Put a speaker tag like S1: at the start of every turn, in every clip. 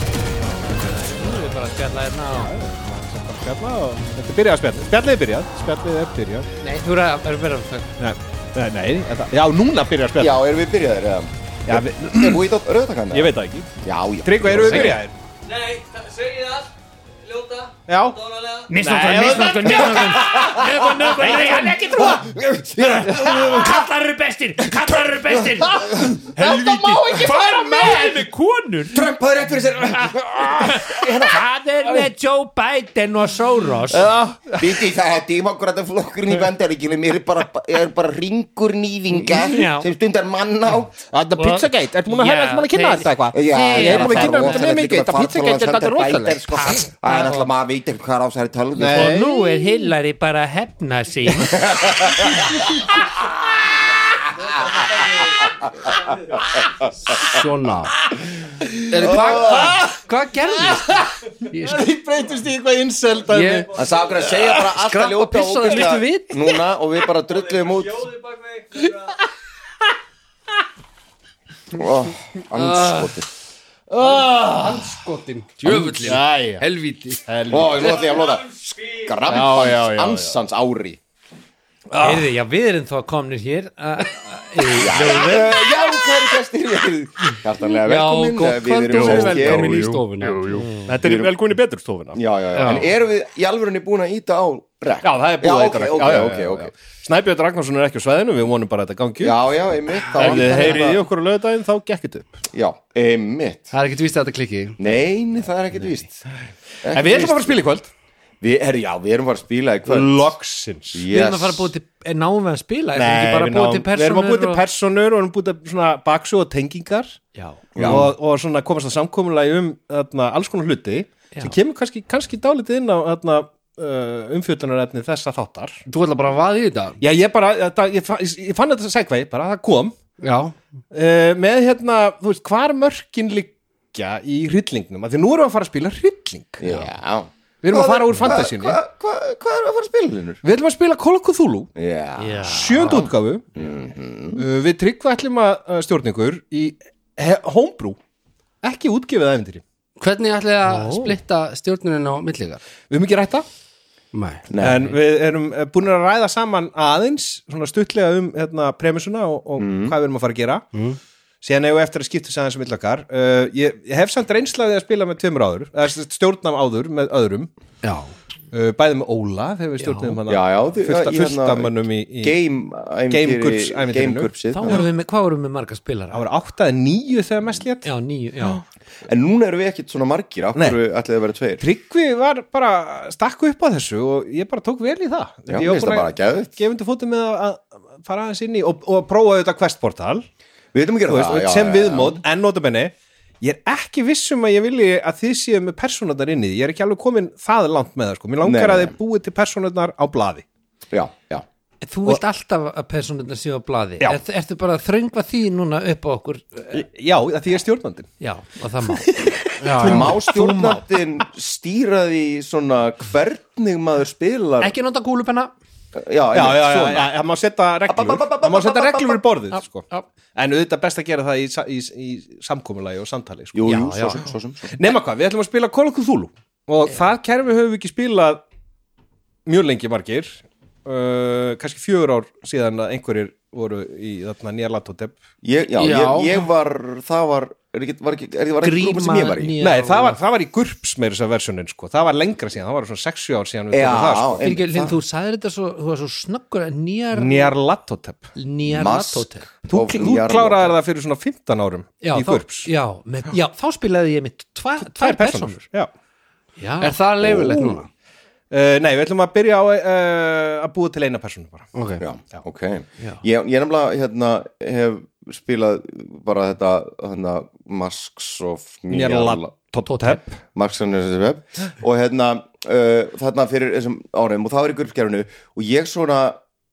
S1: Nú erum við bara að spjalla hérna á...
S2: Bara spjalla og þetta er byrjað að spjalla spjallið er byrjað, spjallið er byrjað
S1: Nei, þú eru að vera að taka.
S2: nei, nei, nei þetta, já núna byrjað að
S3: Já,
S2: spjalla
S3: erum við byrjaðir eða?
S2: já, við,
S3: Erum við í rauðtakann?
S2: ég veit það ekki
S3: Já, já.
S2: Tryggva, erum við byrjaðir?
S4: Nei, segið það Ljóta,
S2: já
S4: dónalega
S2: Nei,
S5: Misnotkun, misnotkun, misnotkun Nögun, nögun, nögun Ekki trúa Kallar eru bestir, kallar eru bestir Helviti Þetta má ekki fara með Hvað er með konur?
S3: Trump hafði rétt fyrir sér.
S5: Hvað er með Joe Biden og Soros?
S3: Viti, það er demokrataflokkurinn í bandaríkjunum. Ég er bara, ég er bara ringur nýðinga
S5: Já.
S3: sem stundar mann á.
S6: Þetta er Pizzagate, ertu múin að
S5: Já,
S6: hefða sem að kynna
S5: þeir-
S6: þetta eitthvað?
S3: Já,
S6: ég er búin að kynna þetta mjög mikið,
S3: Það
S6: þetta Pizzagate er þetta rosalega
S3: sko. Það er alltaf maður veitir hvað er á þessari tölvu. sko.
S5: Og nú er Hillary bara að hefna sín
S6: Svona
S1: Hvað gerðist?
S6: Ég breytist í eitthvað innseld
S1: Ég...
S3: Það sá okkur að segja bara alltaf
S1: Skrappa
S3: ljóta og
S1: pissaði
S3: ógeðslega
S1: miklu vit.
S3: núna og við bara drulluðum út.
S4: Ljóði bak mig Þetta
S3: Ó, Andskotið.
S1: Skotin, djöfullin,
S6: Jæja
S1: helvíti.
S3: Ó, ég nú ætla ég að blóta.
S6: Já, já, já,
S3: Grampans
S6: já.
S3: ansans ári.
S5: Ah.
S1: Heyrðu, já, við erum þá komnir hér að...
S3: Eh, Já, kæri gestir Hjartanlega
S1: Já,
S3: velkomin
S1: gott
S3: eh,
S1: kvöld
S3: erum
S1: og
S3: sem
S1: sæl
S3: hér.
S1: velkomin í stofuna.
S2: þetta er velkomin í betur stofuna
S3: Já, já, já, en erum við í alvörunni búin að íta á rekk?
S2: já, það er búið að
S3: ok,
S2: þetta
S3: ok,
S2: já, já,
S3: ok,
S2: já,
S3: ok.
S2: já. Snæbjörn Ragnarsson er ekki á sveðinu, við vonum bara að þetta gangi
S3: Já,
S2: upp
S3: já, einmitt þá
S2: Ef þið
S3: vantar
S2: heyrið í
S3: þetta-
S2: okkur á lögudaginn þá gekk þetta upp
S3: Já, einmitt
S1: Það er ekkert víst að þetta klikki.
S3: Nei, nei, það er ekkert víst
S2: En við ætlum að fara að spila í kvöld
S3: Við, herri, já, við erum bara að spila í kvöld
S2: Loksins
S3: yes.
S1: Við erum að fara að búið til... eh, Náum við að spila? Nei, við erum
S2: við
S1: bara að búið til
S2: náum- við erum að búið til
S1: personur og...
S2: personur og við erum búið til svona baksu og tengingar
S1: Já.
S2: og, og svona komast að samkomulega um þarna, alls konar hluti
S1: Já.
S2: sem kemur kannski, kannski dálítið inn á þarna, uh, umfjöldunarefni þessa þáttar
S1: Þú ætla bara að vaða í þetta?
S2: Já, ég bara, þetta, ég, fa- ég, ég fann þetta segvei bara, það kom
S1: Já.
S2: uh, með hérna, þú veist, hvar mörkin liggja í hryllingnum, af því nú erum við að fara að spila hrylling
S3: Já
S2: Við erum að fara úr fantasíunni
S3: Hvað hva, hva, hva erum við að fara að spila hennur?
S2: Við ætlum að spila Call of Cthulhu
S3: Já, Mhm.
S2: sjöndu útgáfu uh, Við tryggva ætlum að uh, stjórna ykkur í he- homebrew ekki útgefið aðeindir
S4: Hvernig ætlaði að splitta stjórnunin á milliðar?
S2: Við höfum ekki rætta
S4: Nei
S3: Nei.
S2: En við erum búin að ræða saman aðeins svona stuttlega um hérna, premissuna og, og
S3: Mhm.
S2: hvað við erum að fara að gera mm. síðan eigum við eftir að skipta sæðan sem illakar uh, ég, ég hef samt reynslaði að spila með tveimur áður eða sem sagt stjórnam áður með öðrum
S1: Já.
S2: uh, bæði með Óla þegar við stjórnum hann
S3: já, já þið-
S2: fullt af
S3: í
S2: fullt
S3: hérna-
S2: af mönnum í, í
S3: Game
S2: Game Groups ævintýrinu.
S3: Gamecurbsið
S1: Þá vorum við með, hvað vorum við með marga spilara?
S2: það var átta eða níu þegar mest létt
S1: Já, nýju, já.
S3: En núna erum við ekkert svona margir Af
S2: Nei.
S3: hverju ætlaði að vera tveir
S2: Tryggvi var bara stakku upp á þessu og ég bara tók vel í það Ég
S3: Já, mér
S2: var
S3: finnst það
S2: búin
S3: bara geðvægt
S2: gefundu fótum með að að fara aðeins inn í og, og prófa auðvitað questportal
S3: Við veitum að
S2: þú
S3: gera
S2: veist,
S3: það já,
S2: sem
S3: já, já.
S2: viðmót, en notabenni ég er ekki vissum að ég vilji að þið séu með personarnar inni, ég er ekki alveg komin það langt með það, sko, mér langar
S3: Nei,
S2: að
S3: nei.
S2: þið búið til personarnar á blaði
S3: Já, já
S1: Þú vilt alltaf að personurnar séu á blaði
S2: Já.
S1: er, Ertu bara að þröngva því núna upp á okkur Eh,
S2: já, að því ég er stjórnandinn
S1: Já, og það má
S3: Þú má stjórnandinn stýra því svona hvernig maður spilar
S1: Ekki nota kúlupenna
S3: já,
S2: já, já, já,
S3: svona.
S2: já, það má setja reglur það má setja reglur í borðið, sko
S1: já.
S2: en auðvitað best að gera það í, sa- í, í samkomulagi og samtali, sko
S3: Jú,
S1: Já,
S3: jú,
S1: já.
S3: svo sem, svo sem, svo sem.
S2: nema hvað, við ætlum að spila Call of Cthulhu og það kerfi höfum við ekki spilað mjög lengi margir uh, kannski fjögur ár síðan að einhverjir voru í þarna nýja latotep
S3: Ég, já,
S1: Já.
S3: Ég, ég var, það var er ekki, var ekki, er, var ekki grúpa sem ég var í
S1: nýja-
S2: Nei, það var, það var í GURPS meira þess að versjónin sko. það var lengra síðan, það var svona 60 ár síðan við sko.
S3: Já,
S2: tókum það,
S3: en
S1: Fyrir, Lind,
S3: það-
S1: Þú sagðir þetta svo, þú var svo snöggur Nýjar,
S2: sko. Nýjar Latotep
S1: nýjar
S3: Mask
S1: natótel
S2: Þú,
S3: of
S2: þú
S3: Nýjar
S2: kláraði
S3: Latotep.
S2: það fyrir svona 15 árum
S1: Já,
S2: í
S1: þá-
S2: GURPS
S1: já, með- já, þá spilaði ég mitt tva, tvær
S2: Tvær persónur
S1: personur
S2: Já,
S4: Já. Er það leifilegt núna?
S2: Uh, nei, við ætlum að byrja á uh, að búa til eina personu bara
S4: Okay.
S3: Já, ok Ég, ég nefnilega hérna, hef spilað bara þetta hérna, Masks of
S2: Njala Totep
S3: Masks of Njala og hérna uh, þarna fyrir þessum árum og það var í gurfgerfinu og ég svona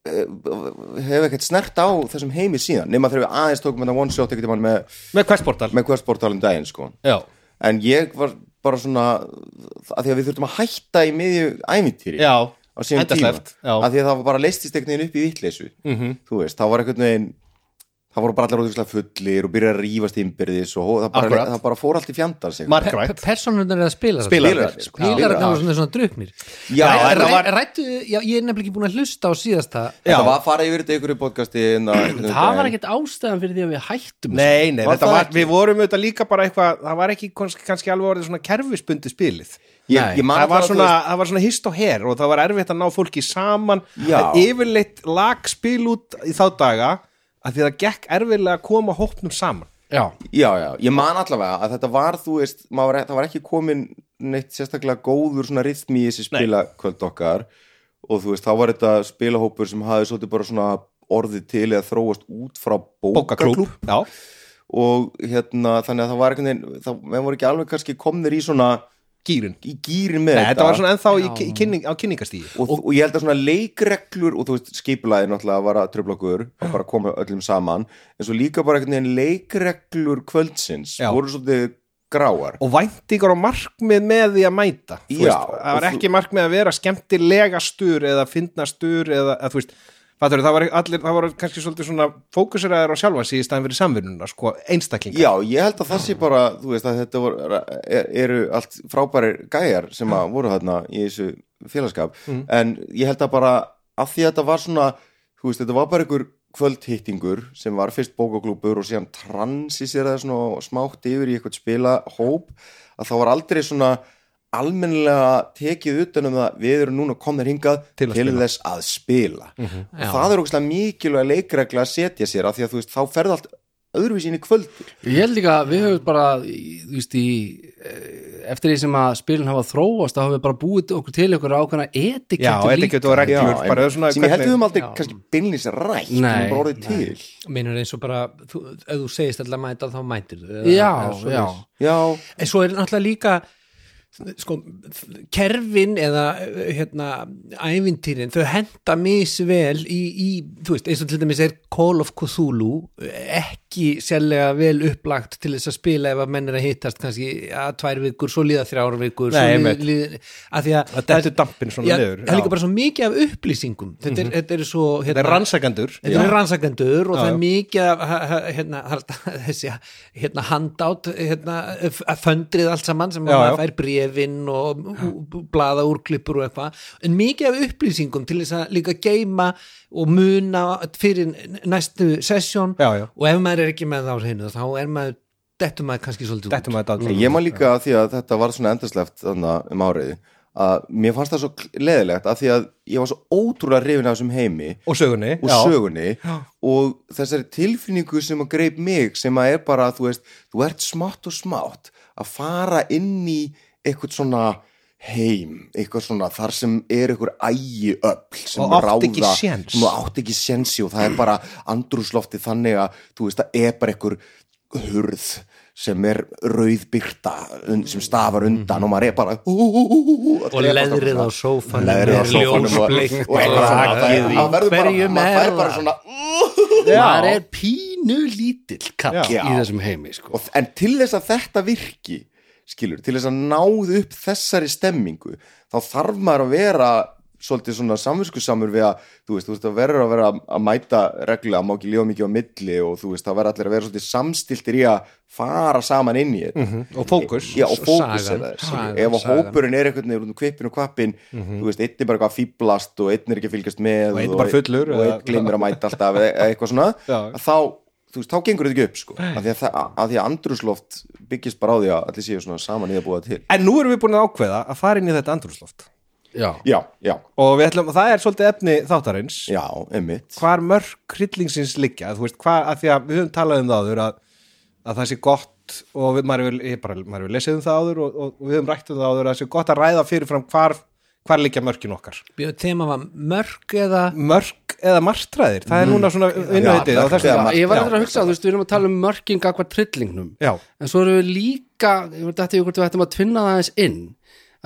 S3: uh, hef ekkert snert á þessum heimi síðan nema þegar við aðeins tókum þetta one shot ekkert mann með,
S2: Með questportal
S3: með questportalum daginn sko
S2: Já
S3: en ég var bara svona að því að við þurftum að hætta í miðju æmintýri
S2: Já,
S3: á síðan tíma
S2: endasleft, já.
S3: að því að það var bara leistist einhvern veginn upp í vittleysu -hmm. þú veist, það var einhvern veginn það voru bara allir ótrúslega fullir og byrjaði að rífast innbyrðis og hó- það bara,
S2: Akkurat.
S3: það bara fór allt í fjandans einhvern
S2: Mark Wright
S4: Personurnar eða spilarar
S3: Spilararnir, sko.
S4: Spilararnir
S3: Spilarar.
S4: eru svona, svona druknir
S3: veginn. Já,
S4: Ræ-
S3: en það
S4: ræ-
S3: var,
S4: Rættu, já, ég er nefnilega ekki búin að hlusta á síðasta
S3: þetta var að fara yfir þetta í einhverju podcasti hérna, en að-
S5: Það var ekkert ástæðan fyrir því að við hættum
S2: Nei, nei,
S3: Var
S2: þetta
S3: það
S2: var,
S3: ekki?
S2: við vorum auðvitað líka bara eitthvað það var ekki kannski, kannski alveg orðið svona kerfisbundi spilið
S3: Ég- ég man
S2: það var,
S3: bara, þú
S2: svona,
S3: veist-
S2: það var svona hist og her og það var erfitt að ná fólki saman
S3: Já.
S2: Það yfirleitt lag spil út í þá daga að því það gekk erfiðlega að koma hópnum saman
S4: Já,
S3: já, já, ég man allavega að þetta var, þú veist, maður, var- e- það var ekki komin neitt sérstaklega góður svona rithmi í þessi spilakvöld okkar og þú veist, þá var þetta spilahópur sem hafði svolítið bara svona orðið til eða þróast út frá bókaklúb
S2: Bókaklúb, já
S3: og hérna, þannig að það var einhvern veginn, þá, við voru ekki alveg kannski komnir í svona,
S2: Gýrin
S3: í gýrin með
S2: Nei,
S3: þetta
S2: þetta var svona ennþá í, í kynning, á kynningastíði
S3: og, og ég held að svona leikreglur og þú veist skipulaði náttúrulega var að tröfla okkur að bara koma öllum saman en svo líka bara einhvern veginn leikreglur kvöldsins
S2: Já.
S3: voru svolítið gráar
S2: og væntingar og markmið með því að mæta þú
S3: Já,
S2: veist, það
S3: og
S2: var
S3: þú-
S2: ekki markmið að vera skemmtilega stur eða finna stur eða að, þú veist, fattur, það, var allir, það var kannski svolítið svona fókuseraður á sjálfa sig í staðan fyrir samvinnuna sko, einstaklingar
S3: Já, ég held að það sé bara, þú veist að þetta voru, er, eru allt frábærir gæjar sem að voru þarna í þessu félagskap,
S2: Mhm.
S3: en ég held að bara að því að þetta var svona þú veist, þetta var bara einhver kvöldhittingur sem var fyrst bókaglúpur og síðan transisir það svona og smátt yfir í eitthvað spila hóp, að það var aldrei svona almennilega tekið utan um það við erum núna komnir hingað til,
S2: Til að spila. Mhm.
S3: þess að spila og það er ógæslega mikilvæg leikregla að setja sér af því að þú veist, þá ferði allt öðruvísi inn í kvöldi
S4: ég held líka að við höfum bara í- þú veist, í, eh, eftir því sem að spilin hafa þróast þá höfum við bara búið okkur til okkur ákveðna
S2: já
S4: etikettur
S2: þetta getur að
S3: Já,
S2: reglur
S3: en-
S2: bara svona
S3: sem ég held
S2: hvernig-
S3: við um höfum aldrei kannski beinlýs rætt
S4: Nei,
S3: nei, bara orðið til
S1: Meinar eins og bara, þú, ef þú segist alltaf að mæta þá mætir þú eða-
S4: Já,
S1: eða svoleiðis.
S4: já
S3: já,
S1: En svo er náttúrulega líka sko, kerfin eða hérna, ævintýrin þau henda misvel í, í þú veist, eins og til dæmis er Call of Cthulhu ekki sérlega vel upplagt til þess að spila ef að menn er að hittast kannski að tvær vikur, svo líða þrjár vikur
S2: Nei,
S1: svo
S2: einmitt.
S1: líð, að því að
S2: að þetta er dampin svona
S1: Já,
S2: niður
S1: það er líka
S2: já. Mhm.
S1: bara svo mikið af upplýsingum þetta er, þetta er svo
S2: þetta er
S1: hérna,
S2: rannsakandur
S1: Þetta eru rannsakendur og
S2: Já,
S1: það er
S2: já.
S1: mikið af, ha- ha- hérna, það er alltaf þessi hérna, handátt, hérna, f- föndrið allt saman sem
S2: Já,
S1: maður
S2: já.
S1: fær brefin og blaða úrklippur og eitthvað, en mikið af upplýsingum til þess að líka geima og muna fyrir næstu sessjón
S2: Já, já.
S1: og ef maður er ekki með þá hreinu þá er maður, dettur maður kannski svolítið út.
S2: þetta maður þetta
S3: ég man líka að því að þetta var svona endasleft þannig um árið að mér fannst það svo kl- leiðilegt að því að ég var svo ótrúlega rifin af þessum heimi
S2: og sögunni
S3: og
S2: já.
S3: sögunni og þessari tilfinningu sem að greip mig sem að er bara, þú veist, þú ert smátt og smátt að fara inn í eitthvað svona heim, eitthvað svona þar sem er eitthvað ægi öll sem
S2: Og átt
S3: ráða
S2: ekki séns.
S3: sem þú átt ekki sénsi og það er bara andrúslofti þannig að þú veist, það er bara eitthvað hurð sem er rauðbyrta sem stafar undan og maður er bara
S1: og leðrið á sófanum
S3: leðrið á sófanum og,
S1: ljósbleikt
S3: og eitthvað svona
S1: rakið í
S3: það verður bara,
S1: hverjum
S3: maður
S1: er
S3: fær bara
S1: það?
S3: svona
S4: maður er pínu lítill kall
S3: Já.
S4: í þessum heimi sko.
S3: og, en til þess að þetta virki skilur, til þess að náðu upp þessari stemmingu, þá þarf maður að vera svolítið svona samvinskusamur við að, þú veist, þú veist, það verður að vera að mæta reglulega, má ekki lífa mikið á milli og þú veist, það verður allir að vera svolítið samstiltir í að fara saman inn í þetta
S2: og fókus
S3: Já, og fókus er
S1: Sagan,
S3: það
S1: sagan,
S3: ef að
S1: sagan.
S3: hópurinn er einhvern veginn úr kvipin og kvappin þú veist, einn er bara eitthvað að fýblast og einn er ekki að fylgjast með
S2: Mhm. Og einn er bara fullur
S3: og
S2: eða-
S3: einn glimir að mæta alltaf eða eða eitthvað svona
S2: Já.
S3: að þá, þú veist, þá gengur þetta ekki upp sko. að, því að, það- að því að andrusloft byggist bara á því að allir séu svona saman í að búa til
S2: en nú erum við búin að ákveða að fara inn í þetta andrúsloft
S4: já.
S3: já, já,
S2: og við ætlum, það er svolítið efni þáttarins
S3: já, emmitt
S2: hvar mörg hryllingsins liggja þú veist, hvað, að því að við höfum talað um það áður að, að það sé gott gott og við, maður hefur bara- maður hefur lesið um það áður og, og, og við höfum rætt um það áður að það sé gott að ræða fyrirfram hvar, hvar liggja mörkin okkar
S1: Þeima var mörg eða
S2: mörk eða martræðir, það er núna svona innveitið
S3: Já,
S2: á
S3: mörk
S2: þessu
S3: eða
S2: tíma.
S3: martraðir.
S4: ég var eitthvað að hugsa, þú veist, við erum að tala um mörking akvað trillingnum,
S2: Já.
S4: en svo erum við líka ég veit þetta ykkur, við ættum að tvinna það aðeins inn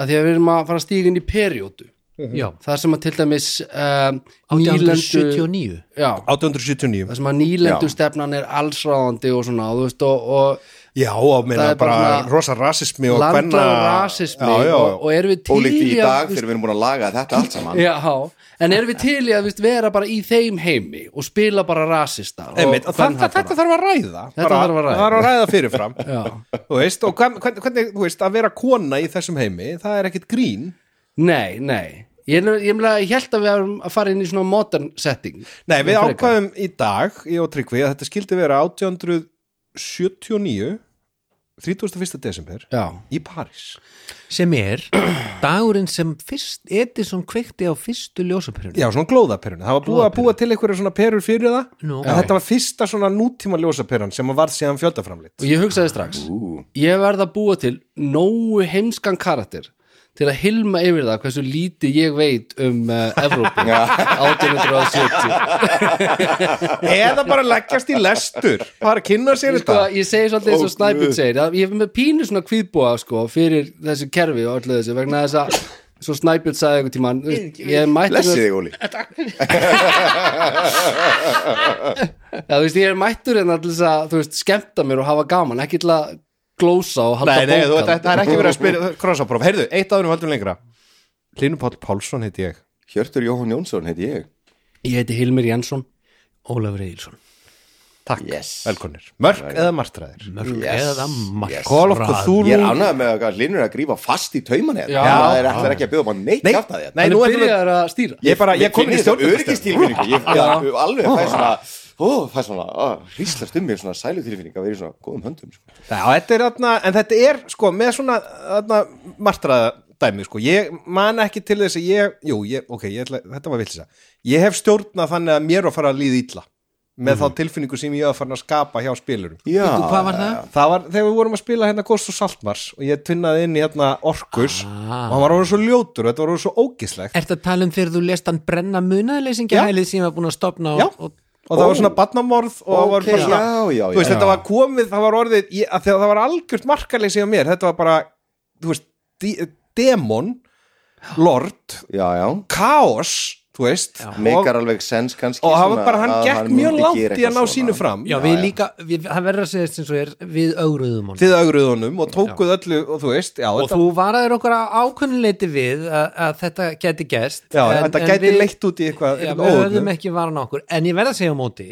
S4: að því að við erum að fara að stíga inn í periodu,
S1: já,
S4: þar sem að til dæmis um, nýlendu
S1: 1879
S4: já,
S2: 879
S4: þar sem að nýlendu stefnan er allsráðandi og svona, þú veist, og,
S2: já, og meina
S4: Það er bara
S2: bara,
S4: svona-
S2: rosa rasismi
S4: og
S2: og
S4: landa og
S2: hvenna-
S4: rasismi
S2: já, já,
S4: Og, og erum við til
S3: ólíkt í
S4: að-
S3: dag þegar við erum búin að laga þetta allt saman
S4: Já, en erum við til í að viðst, vera bara í þeim heimi og spila bara rasista og
S2: Einmitt, og þetta,
S4: kvenhatara?
S2: þetta þarf að ræða
S4: Þetta þarf að ræða.
S2: þarf að ræða fyrirfram
S4: Já.
S2: þú veist, og hvern- hvernig, hvernig þú veist, að vera kona í þessum heimi það er ekkit grín
S4: Nei, nei Ég, ég, ég, meina, ég held að við erum að fara inn í svona modern setting
S2: nei, við
S4: Frekar.
S2: ákvaðum í dag, ég og Tryggvi að þetta skildi vera 1879 31. desember
S4: Já,
S2: í París
S1: sem er dagurinn sem fyrst Edison kveikti á fyrstu ljósaperunni
S2: já, svona glóðaperunni, það var búið að búa til einhverja svona perur fyrir það
S1: Nú.
S2: en þetta var fyrsta svona nútíma ljósaperan sem varð síðan fjöldaframleitt
S4: og ég hugsaði strax Ég verð að búa til nógu heimskan karakter til að hilma yfir það hversu lítið ég veit um uh, Evrópu 1870
S2: eða bara leggjast í lestur bara kynna sér
S4: sko,
S2: þetta
S4: Ég segi svolítið eins og
S3: Ó,
S4: Snæbjörn
S3: guð.
S4: segir að Ég er með pínu svona kvíðbúa sko, fyrir þessu kerfi og öllu þessu vegna þess að svo Snæbjörn sagði einhvern tímann þú veist, Ég er mættur hérna-
S3: blessi þig Óli
S4: Já, þú veist, ég er mættur hérna til þess að, þú veist, skemmta mér og hafa gaman, ekki til að glósa og halda
S2: Nei, nei, þú,
S4: bókað.
S2: það, það er ekki verið að spyrja krossapróf, heyrðu, eitt áður um höldum lengra Hlynur Páll Pálsson heiti ég
S3: Hjörtur Jóhann Jónsson heiti ég
S4: Ég heiti Hilmir Jensson.
S1: Ólafur Egilson
S2: Takk,
S3: Yes.
S2: velkonir Mörk eða martræðir
S1: mörg
S3: Yes,
S1: eða marg
S2: Call of
S3: Ég er
S2: Cthulhu
S3: ánægð með að Linur er að grífa fast í tauman hérna
S4: Já.
S3: það er ætlar ekki að bjóða maður neitt hérna.
S2: Nei,
S3: kjátt að
S2: nei,
S4: Hann
S2: nú
S4: er
S2: erum við
S4: byrjaður að stýra.
S2: Ég bara, ég kom í stjórnum
S3: öryggistilfinningu Ég ég- alveg fæ svona Ó, fæ svona, ó, hríslast um mér svona sælutilfinning að vera í svona góðum höndum sko.
S2: Já, þetta er þarna, en þetta er sko með svona þarna, martraðadæmi sko, ég man ekki til þess að ég, jú, ég, ok, ég ætla, þetta var villisa ég hef stjórnað þannig að mér var að fara að líða illa með
S3: Mhm.
S2: þá tilfinningu sem ég var farin að skapa hjá spilurum
S3: Já,
S1: Þú, hvað var það?
S2: það var þegar við vorum að spila hérna Ghost of Saltmars og ég tvinnaði inn í hérna Orkus
S1: Ah.
S2: og hann var orðin svo ljótur og þetta var orðin svo ógislegt
S1: Ertu að tala um þegar þú lest hann brenna munaðleysingahælið sem ég var búin að stopna
S2: Já.
S1: og, og
S2: og það var svona barnamorð og það var
S3: Ókei,
S2: bara svona,
S3: já, já,
S2: þú veist,
S3: já.
S2: þetta var komið, það var orðið ég, að þegar það var algjört markaleysi á mér þetta var bara, þú veist, di, demon lord,
S3: já, já
S2: kaos þú veist, og,
S3: Meikar alveg sens kannski
S2: og það
S3: svona
S2: var bara, hann
S3: að
S2: gekk
S3: myndi
S2: mjög
S3: gera
S2: langt í
S3: eitthvað
S2: að ná
S3: svona.
S2: sínu fram
S1: Já, við líka, við, það verður að segja þess eins og er við ögruðum hann
S2: þið augrið honum og tókuð öllu og þú veist, já,
S1: og
S2: þetta,
S1: þú varaðir okkur á ákunnuleiti við að, að þetta geti gerst
S2: já, þetta gæti leitt út í eitthvað,
S1: já,
S2: eitthvað
S1: við
S2: óöfnu.
S1: höfðum ekki varan á okkur en ég verð að segja á móti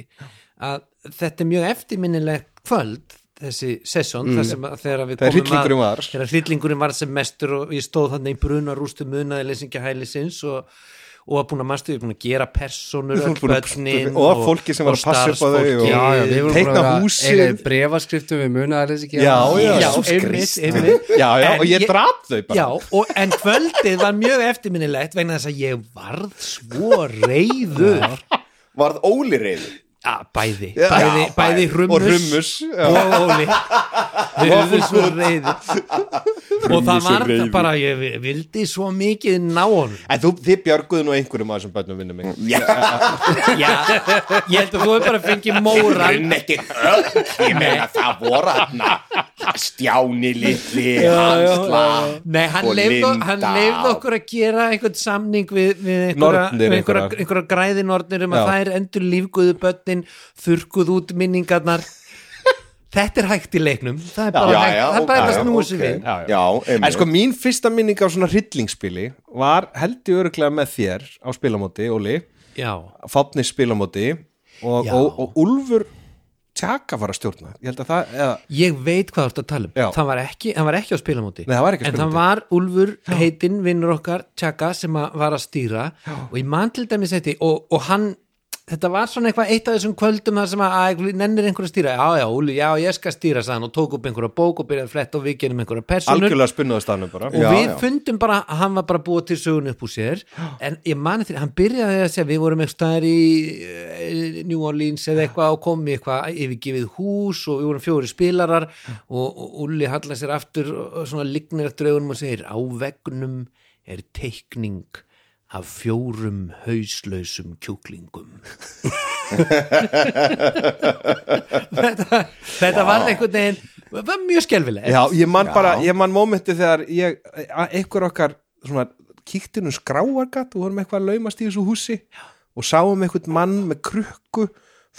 S1: að þetta er mjög eftirminnilegt kvöld þessi sessón þar sem að þegar við
S2: Mm. Þegar
S1: komum
S2: hryllingurinn var.
S1: að þegar hryllingurinn var sem mestur og ég stóð þannig í bruna rústu munaði leysingahælisins og, og að búin að mastu, ég er búin að gera persónur
S2: Þú ert
S1: öll
S2: búin að-
S1: börnin
S2: og fólki sem var að passa upp á þau og-
S1: starfsfólkið.
S4: Já, já, við vorum
S2: Teikna
S4: búin að vera
S2: húsið.
S4: eiginlega í brefaskriftum við munaðar þessi ekki.
S2: Já, já.
S1: já,
S2: Jesus
S1: einmitt, einmitt.
S2: já, já,
S1: En
S2: og ég draf þau bara
S1: Já, og, en kvöldið var mjög eftirminnilegt vegna þess að ég varð svo reyður
S3: Varð Óli reyður
S1: ja, bæði, bæði, bæði hrummus
S2: og rummus já.
S1: og Óli við höfum svo reyður og það var það bara ég vildi svo mikið ná honum
S2: en þú, þið björguðu nú einhverjum að þessum börnum vinnum mig
S3: Mm.
S1: já, ég held að þú hefur bara fengið móran
S3: ekki öll Ég meina það voru hann Stjáni litli Hansla
S1: Nei, hann
S3: Og
S1: leifði
S3: Linda.
S1: hann leifði okkur að gera einhvern samning við, við einhverja,
S2: Nornir
S1: einhverja,
S2: einhverjar.
S1: einhverja græðinornir um
S2: Já.
S1: að þær endur lífguðu börnin þurrkuð út minningarnar Þetta er hægt í leiknum Það er bara
S3: Já,
S1: hægt,
S3: já,
S1: það er bara
S3: ok,
S1: hægt að snúa sig
S3: ok.
S1: við
S2: Já, já.
S3: Já,
S2: en
S3: einmitt
S2: sko mín fyrsta minning á svona hryllingsspili var held ég öruglega með þér á spilamóti, Óli
S1: Já,
S2: fápnis spilamóti og,
S1: Já.
S2: og, og Úlfur tjaka var að stjórna ég held að það, eða,
S1: ég veit hvað þú ert að tala um
S2: Já.
S1: það var, ekki, hann var ekki á spilamóti
S2: Nei, það var ekki á
S1: En
S2: spilamóti.
S1: það var Úlfur heitinn vinnur okkar Tjaka sem að var að stýra og ég man til dæmis þetta og, og hann þetta var svona eitthvað eitt af þessum kvöldum þar sem að, að nennir einhverju að stýra já, já, Úli, já, ég skal stýra sann og tók upp einhverja bók og byrjaði að fletta og við genum einhverja personur
S2: algjörlega spunnaðu stafnum bara
S1: og
S3: Já,
S1: við
S3: já.
S1: fundum bara að hann var bara búið til sögun upp úr sér en ég mani því, hann byrjaði að segja við vorum eitthvað staðar í eh, New Orleans eða eitthvað og komum í eitthvað yfirgefið hús og við vorum fjóri spilarar og, og Ulli hallar sér aftur og og svona lignir eftir augunum og segir á vegnum er teikning af fjórum hauslausum kjúklingum þetta, þetta var einhvern veginn það var mjög skelfileg
S2: Já, ég man bara, ég man mómenti þegar ég, að einhver okkar svona kíktinum skráargat og vorum eitthvað að laumast í þessu húsi og sáum einhvern mann með krukku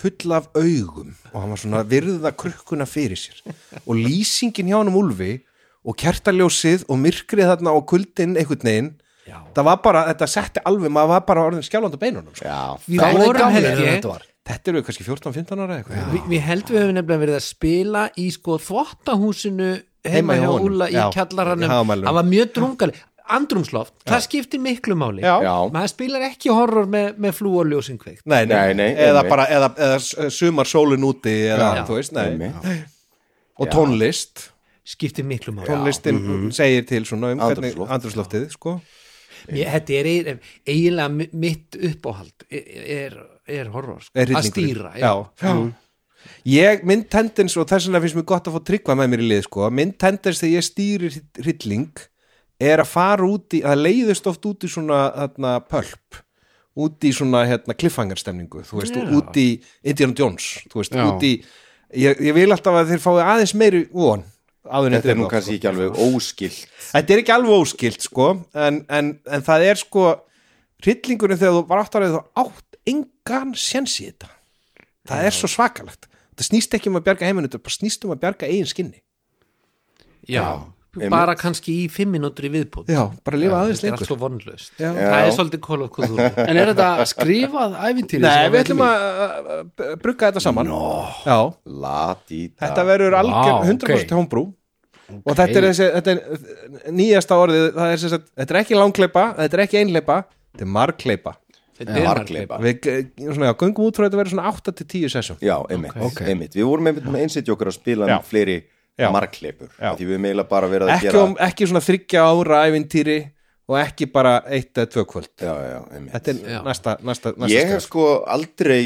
S2: full af augum og hann var svona að virða krukkuna fyrir sér og lýsingin hjá hann um Úlfi og kertaljósið og myrkrið þarna og kuldinn einhvern veginn
S1: Já.
S2: það var bara, þetta setti alveg, maður var bara orðin skjálfandi á beinunum sko.
S1: við
S4: Gamli,
S1: vorum
S4: gamli,
S1: held ég
S4: þetta var.
S2: þetta eru kannski 14-15 ára eða eitthvað
S1: Vi, við heldum við höfum nefnilega verið að spila í sko þvottahúsinu heima
S2: Heima hjá
S1: hjá
S2: honum,
S1: Úla í
S2: já.
S1: kjallaranum
S2: Í hagamalnum.
S1: það var mjög drungaleg andrumsloft, það skiptir miklu máli
S2: Já.
S3: Já.
S1: maður spilar ekki horror með, með flú og ljósin kveikt
S2: Nei, nei,
S3: Nei, nei,
S2: eða
S3: einmitt.
S2: bara, eða, eða sumar sólin úti eða,
S1: Já.
S2: þú veist, nei
S3: Einmitt.
S2: og tónlist,
S1: skiptir miklu máli
S2: tónlistin segir til svona um hvernig
S3: Andrúmsloft.
S2: andrúsloftið, sko
S1: Mér, þetta er eig- eiginlega mi- mitt uppáhald er, er horror sko.
S2: er
S1: að
S2: hrifningurinn.
S1: stýra
S2: já. Já. ég, minn tendens og þess vegna finnst mér gott að fá tryggva með mér í lið, sko minn tendens þegar ég stýri hrylling er að fara út í, það leiðist oft út í svona þarna, pölp út í svona hérna, kliffangarstemningu þú veist, og út í Indiana Jones þú veist,
S4: Já.
S2: út í ég, ég vil alltaf að þeir fái aðeins meiri von áður en
S3: Þetta er
S2: gott,
S3: nú
S2: sko.
S3: kannski ekki alveg óskilt
S2: Þetta er ekki alveg óskilt sko en, en, en það er sko hryllingurinn þegar þú var áttarið þú átt engan séns í þetta það er svo svakalegt það snýst ekki um að bjarga heiminu, þetta bara snýst um að bjarga eigin skinni
S1: Já. bara kannski í fimm mínútur í viðbútt
S2: Já, bara lifa aðeins
S1: þetta er allt
S2: lengur
S1: svo vonlaust
S2: Já.
S1: það er svolítið Call of Cthulhu
S4: En er þetta skrifað æfintýri?
S2: Nei, við ætlum að að, að brugga þetta saman no. Já,
S3: Ladíta
S2: þetta verður algjör
S4: Vá,
S2: 100%
S4: ok.
S2: okay. hombrú og þetta er, þessi, þetta er nýjasta orðið það er, sem sagt, þetta er ekki langleipa, þetta er ekki einleipa þetta er margleipa
S1: Þetta er
S3: Margleipa.
S1: margleipa.
S2: við eh, svona, já, göngum út frá þetta verður svona 8-10 sessum
S3: Já, einmitt, einmitt Við vorum einmitt með einsitt okkur að spila
S2: Já.
S3: með fleiri
S2: Já.
S3: markleipur
S2: Já.
S3: Því við meila bara verið að
S2: ekki,
S3: gera
S2: um, ekki svona þryggja ára ævintýri og ekki bara eitt eða tvö kvöld
S3: Já, já, einmitt
S2: þetta er næsta, næsta, næsta
S3: Ég hef
S2: skref.
S3: sko aldrei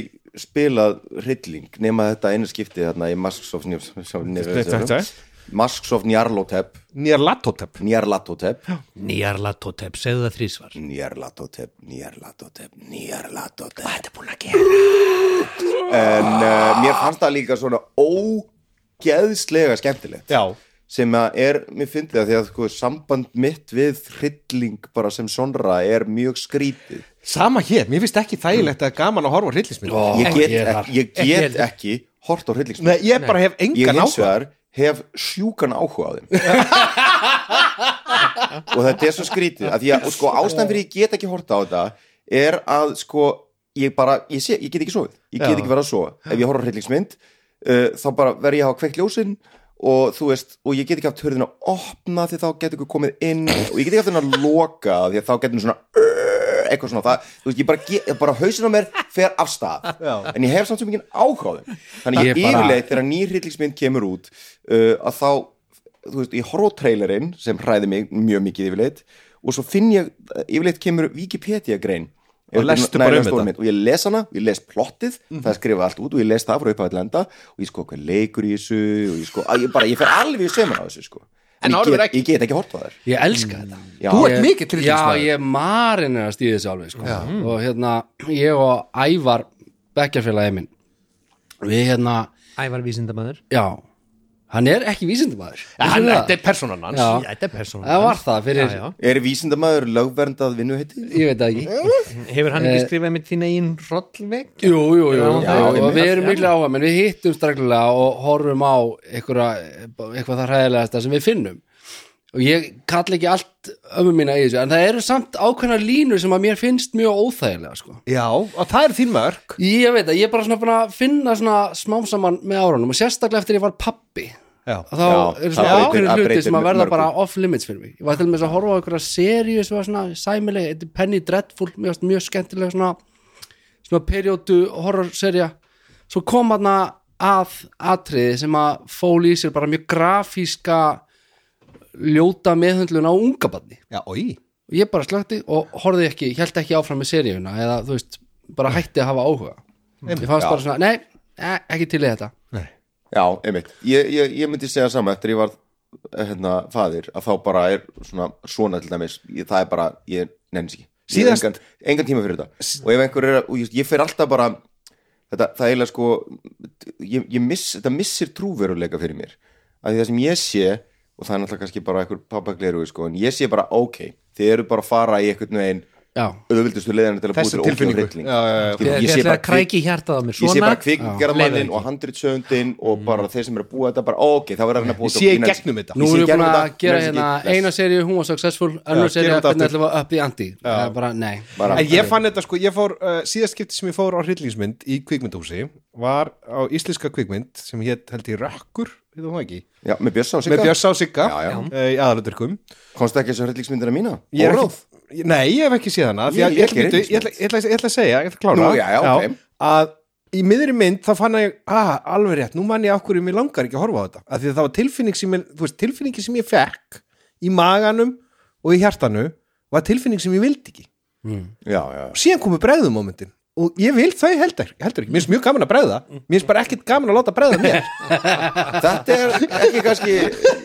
S3: spilað hrylling nema þetta einu skipti þarna í Masks of
S2: Þetta
S3: Njarlotep
S2: er-
S3: Masks of Njarlotep
S2: nýjar lattotep
S3: Njarlatotep
S1: Nýjarlatotep, segðu það þrísvar
S3: Njarlatotep, Njarlatotep, Njarlatotep Hvað er búin að gera? En uh, mér fannst það líka svona ógeðslega skemmtilegt
S2: já,
S3: sem að er, mér fyndi það því að sko, samband mitt við hrylling bara sem sonra er mjög skrítið
S2: sama hér, mér finnst ekki þægilegt að gaman að horfa á hryllismið
S3: ég
S1: ekki
S3: get,
S1: ég
S3: ekki, ég
S1: Ekki
S3: get
S1: heldur.
S3: ekki hort á hryllingsmynd
S2: Nei, ég bara hef
S3: ég
S2: engan
S3: hins
S2: áhuga
S3: vegar hef sjúkan áhuga á þeim og þetta er svo skrítið að því að og sko, ástæðan fyrir ég get ekki horta á þetta er að sko ég bara, ég, sé, ég get ekki sofið ég get
S2: Já.
S3: ekki verið að sofa, ef ég horfa hryllingsmynd uh, þá bara verð ég að hafa kveikt ljósin og þú veist, og ég get ekki haft hörðina opna því þá getur ykkur komið inn og ég get ekki haft hörðina loka því að þá getur hún svona uh, eitthvað svona það, þú veist, ég bara, ge- bara hausin á mér fer af stað,
S2: Já.
S3: en ég hef samt sem ekki ákváðum, þannig
S4: Ég
S3: ég
S4: bara-
S3: yfirleitt þegar ný hryllingsmynd kemur út uh, að þá, þú veist, ég horf á trailerinn sem hræði mig mjög mikið yfirleitt og svo finn ég, yfirleitt kemur Wikipedia grein
S2: Og lestu bara um þetta. Mhm.
S3: mynd og ég les hana, ég les plottið það er skrifað allt út og ég les það frá upphæðið lenda og ég sko hvað leikur í þessu og ég sko, að ég bara, ég fer alveg í sömuna á þessu sko en,
S2: En
S3: ég,
S2: Álfur
S3: get,
S2: ekki.
S3: ég get ekki hort á þær
S4: Ég elska þetta
S3: Já.
S2: Þú ert
S4: Ég-
S2: mikill hryllingsmaður.
S4: Já, ég marinn er að stíði þessu alveg sko. og hérna, ég og Ævar bekkjarfélagið minn við hérna,
S1: Ævar Vísindamæður
S4: já hann er ekki vísindumæður
S2: hann, þetta er persónan hans
S4: Já,
S1: Þetta er persónan
S4: það var það fyrir,
S1: Já, já.
S3: er vísindamæður lögverndað vinnuheiti?
S4: ég veit það ekki
S1: Hefur hann
S3: Eh,
S1: ekki skrifað mitt þína í einn rollvegg?
S4: Jú, jú, jú,
S1: Já,
S4: já,
S3: einmitt.
S4: og við erum miklu áhuga menn við hittum straklega og horfum á einhverja, eitthvað það hræðilegasta sem við finnum og ég kalla ekki allt ömmu mína í þessu en það eru samt ákveðna línur sem að mér finnst mjög óþægilega sko.
S2: já, og það er þín mörg
S4: ég veit að ég er bara svona búin að finna svona smám saman með árunum og sérstaklega eftir ég var pappi
S2: já,
S4: að þá
S3: Já,
S4: eru
S3: það
S4: svona
S3: breytir-
S4: ákveðin
S3: það
S4: hluti
S3: breytir
S4: sem að verða
S3: mörgu.
S4: bara off limits fyrir mig ég var til með að horfa á einhverja seríu sem var svona sæmileg, þetta er Penny Dreadful mjög, mjög skemmtileg svona, svona sem að periodu horrorserja svo kom hann að atriði sem að fól í sér bara mjög grafíska ljóta meðhundlun á unga barni
S2: Já, oi
S4: og ég bara slökti og horfði ekki, held ekki áfram með seríuna eða þú veist, bara hætti að hafa áhuga ég fannst bara svona, nei, eh, ekki til í þetta
S3: Já, einmitt Ég, ég, ég myndi segja saman eftir ég var hérna, faðir að þá bara er svona svona til dæmis ég, það er bara, ég nefnir ekki Ég hef
S2: Síðast-
S3: engan, engan tíma fyrir þetta og ef einhver er, að- og ég, ég fer alltaf bara þetta, það er eiginlega sko ég, ég miss, þetta missir trúveruleika fyrir mér af því það sem ég sé og það er náttúrulega kannski bara einhver pappagleru sko, en ég sé bara, ok, þið eru bara að fara í einhvern veginn
S4: já,
S3: auðvildustu leiðan til að búið
S2: Þessi
S3: til ógeð og
S2: tilfinningu.
S3: hrylling
S2: Já, já, já.
S3: Skilur,
S1: ég, ég ætla að kræki hjartað á mér
S3: ég sé
S1: svona
S3: bara kvikgerðmannin og handritsöndin og bara þeir sem eru að búa þetta bara ok, það verður hann að búa
S2: Ég sé í
S3: Ég nenni-
S2: gegnum þetta.
S4: nú
S3: Ég
S4: erum
S3: sé í
S4: við búin
S3: gegnum
S4: að
S3: þetta.
S4: gera
S3: Nenni
S4: hérna
S3: ekki-
S4: eina seríu, hún var successful
S2: Já,
S4: önnur
S2: gerum
S4: seríu,
S2: þetta
S4: hvernig
S2: aftur.
S4: ætlum við upp í andi það er bara, nei,
S3: bara,
S2: En ég fann þetta sko, ég fór, uh, síðast skipti sem ég fór á hryllingsmynd í kvikmyndhúsi var á íslenska kvikmynd sem hétt held ég Rökkur, við það ekki
S3: já, með Björns á sig
S2: með Björns á Sigga
S3: Já, já.
S2: uh, í aðalöndurkum
S3: komst ekki þessu hryllingsmyndina mína
S2: Ég er
S3: Óráð.
S2: ekki- Nei, ég hef ekki séð hana því
S3: Ég-
S2: að
S3: ég
S2: Ég ætla-
S3: gerði
S2: bíddu,
S3: ekki
S2: ég ætla ég ætla- ég ætla að segja, ég ætla að klára
S3: Nú, já, já, ok.
S2: að í miðri mynd þá fann ég að alveg rétt, nú mann ég af hverju mér langar ekki að horfa á þetta að því að það var tilfinning sem ég, þú veist, tilfinningi sem ég fekk í maganum og í hjartanu var tilfinning sem ég vildi ekki
S3: já, já,
S2: og síðan komu bregðum momentin og ég vil þau heldur, heldur ekki, mér finnst mjög gaman að bregða mér finnst bara ekkert gaman að láta bregða mér
S3: þetta er ekki kannski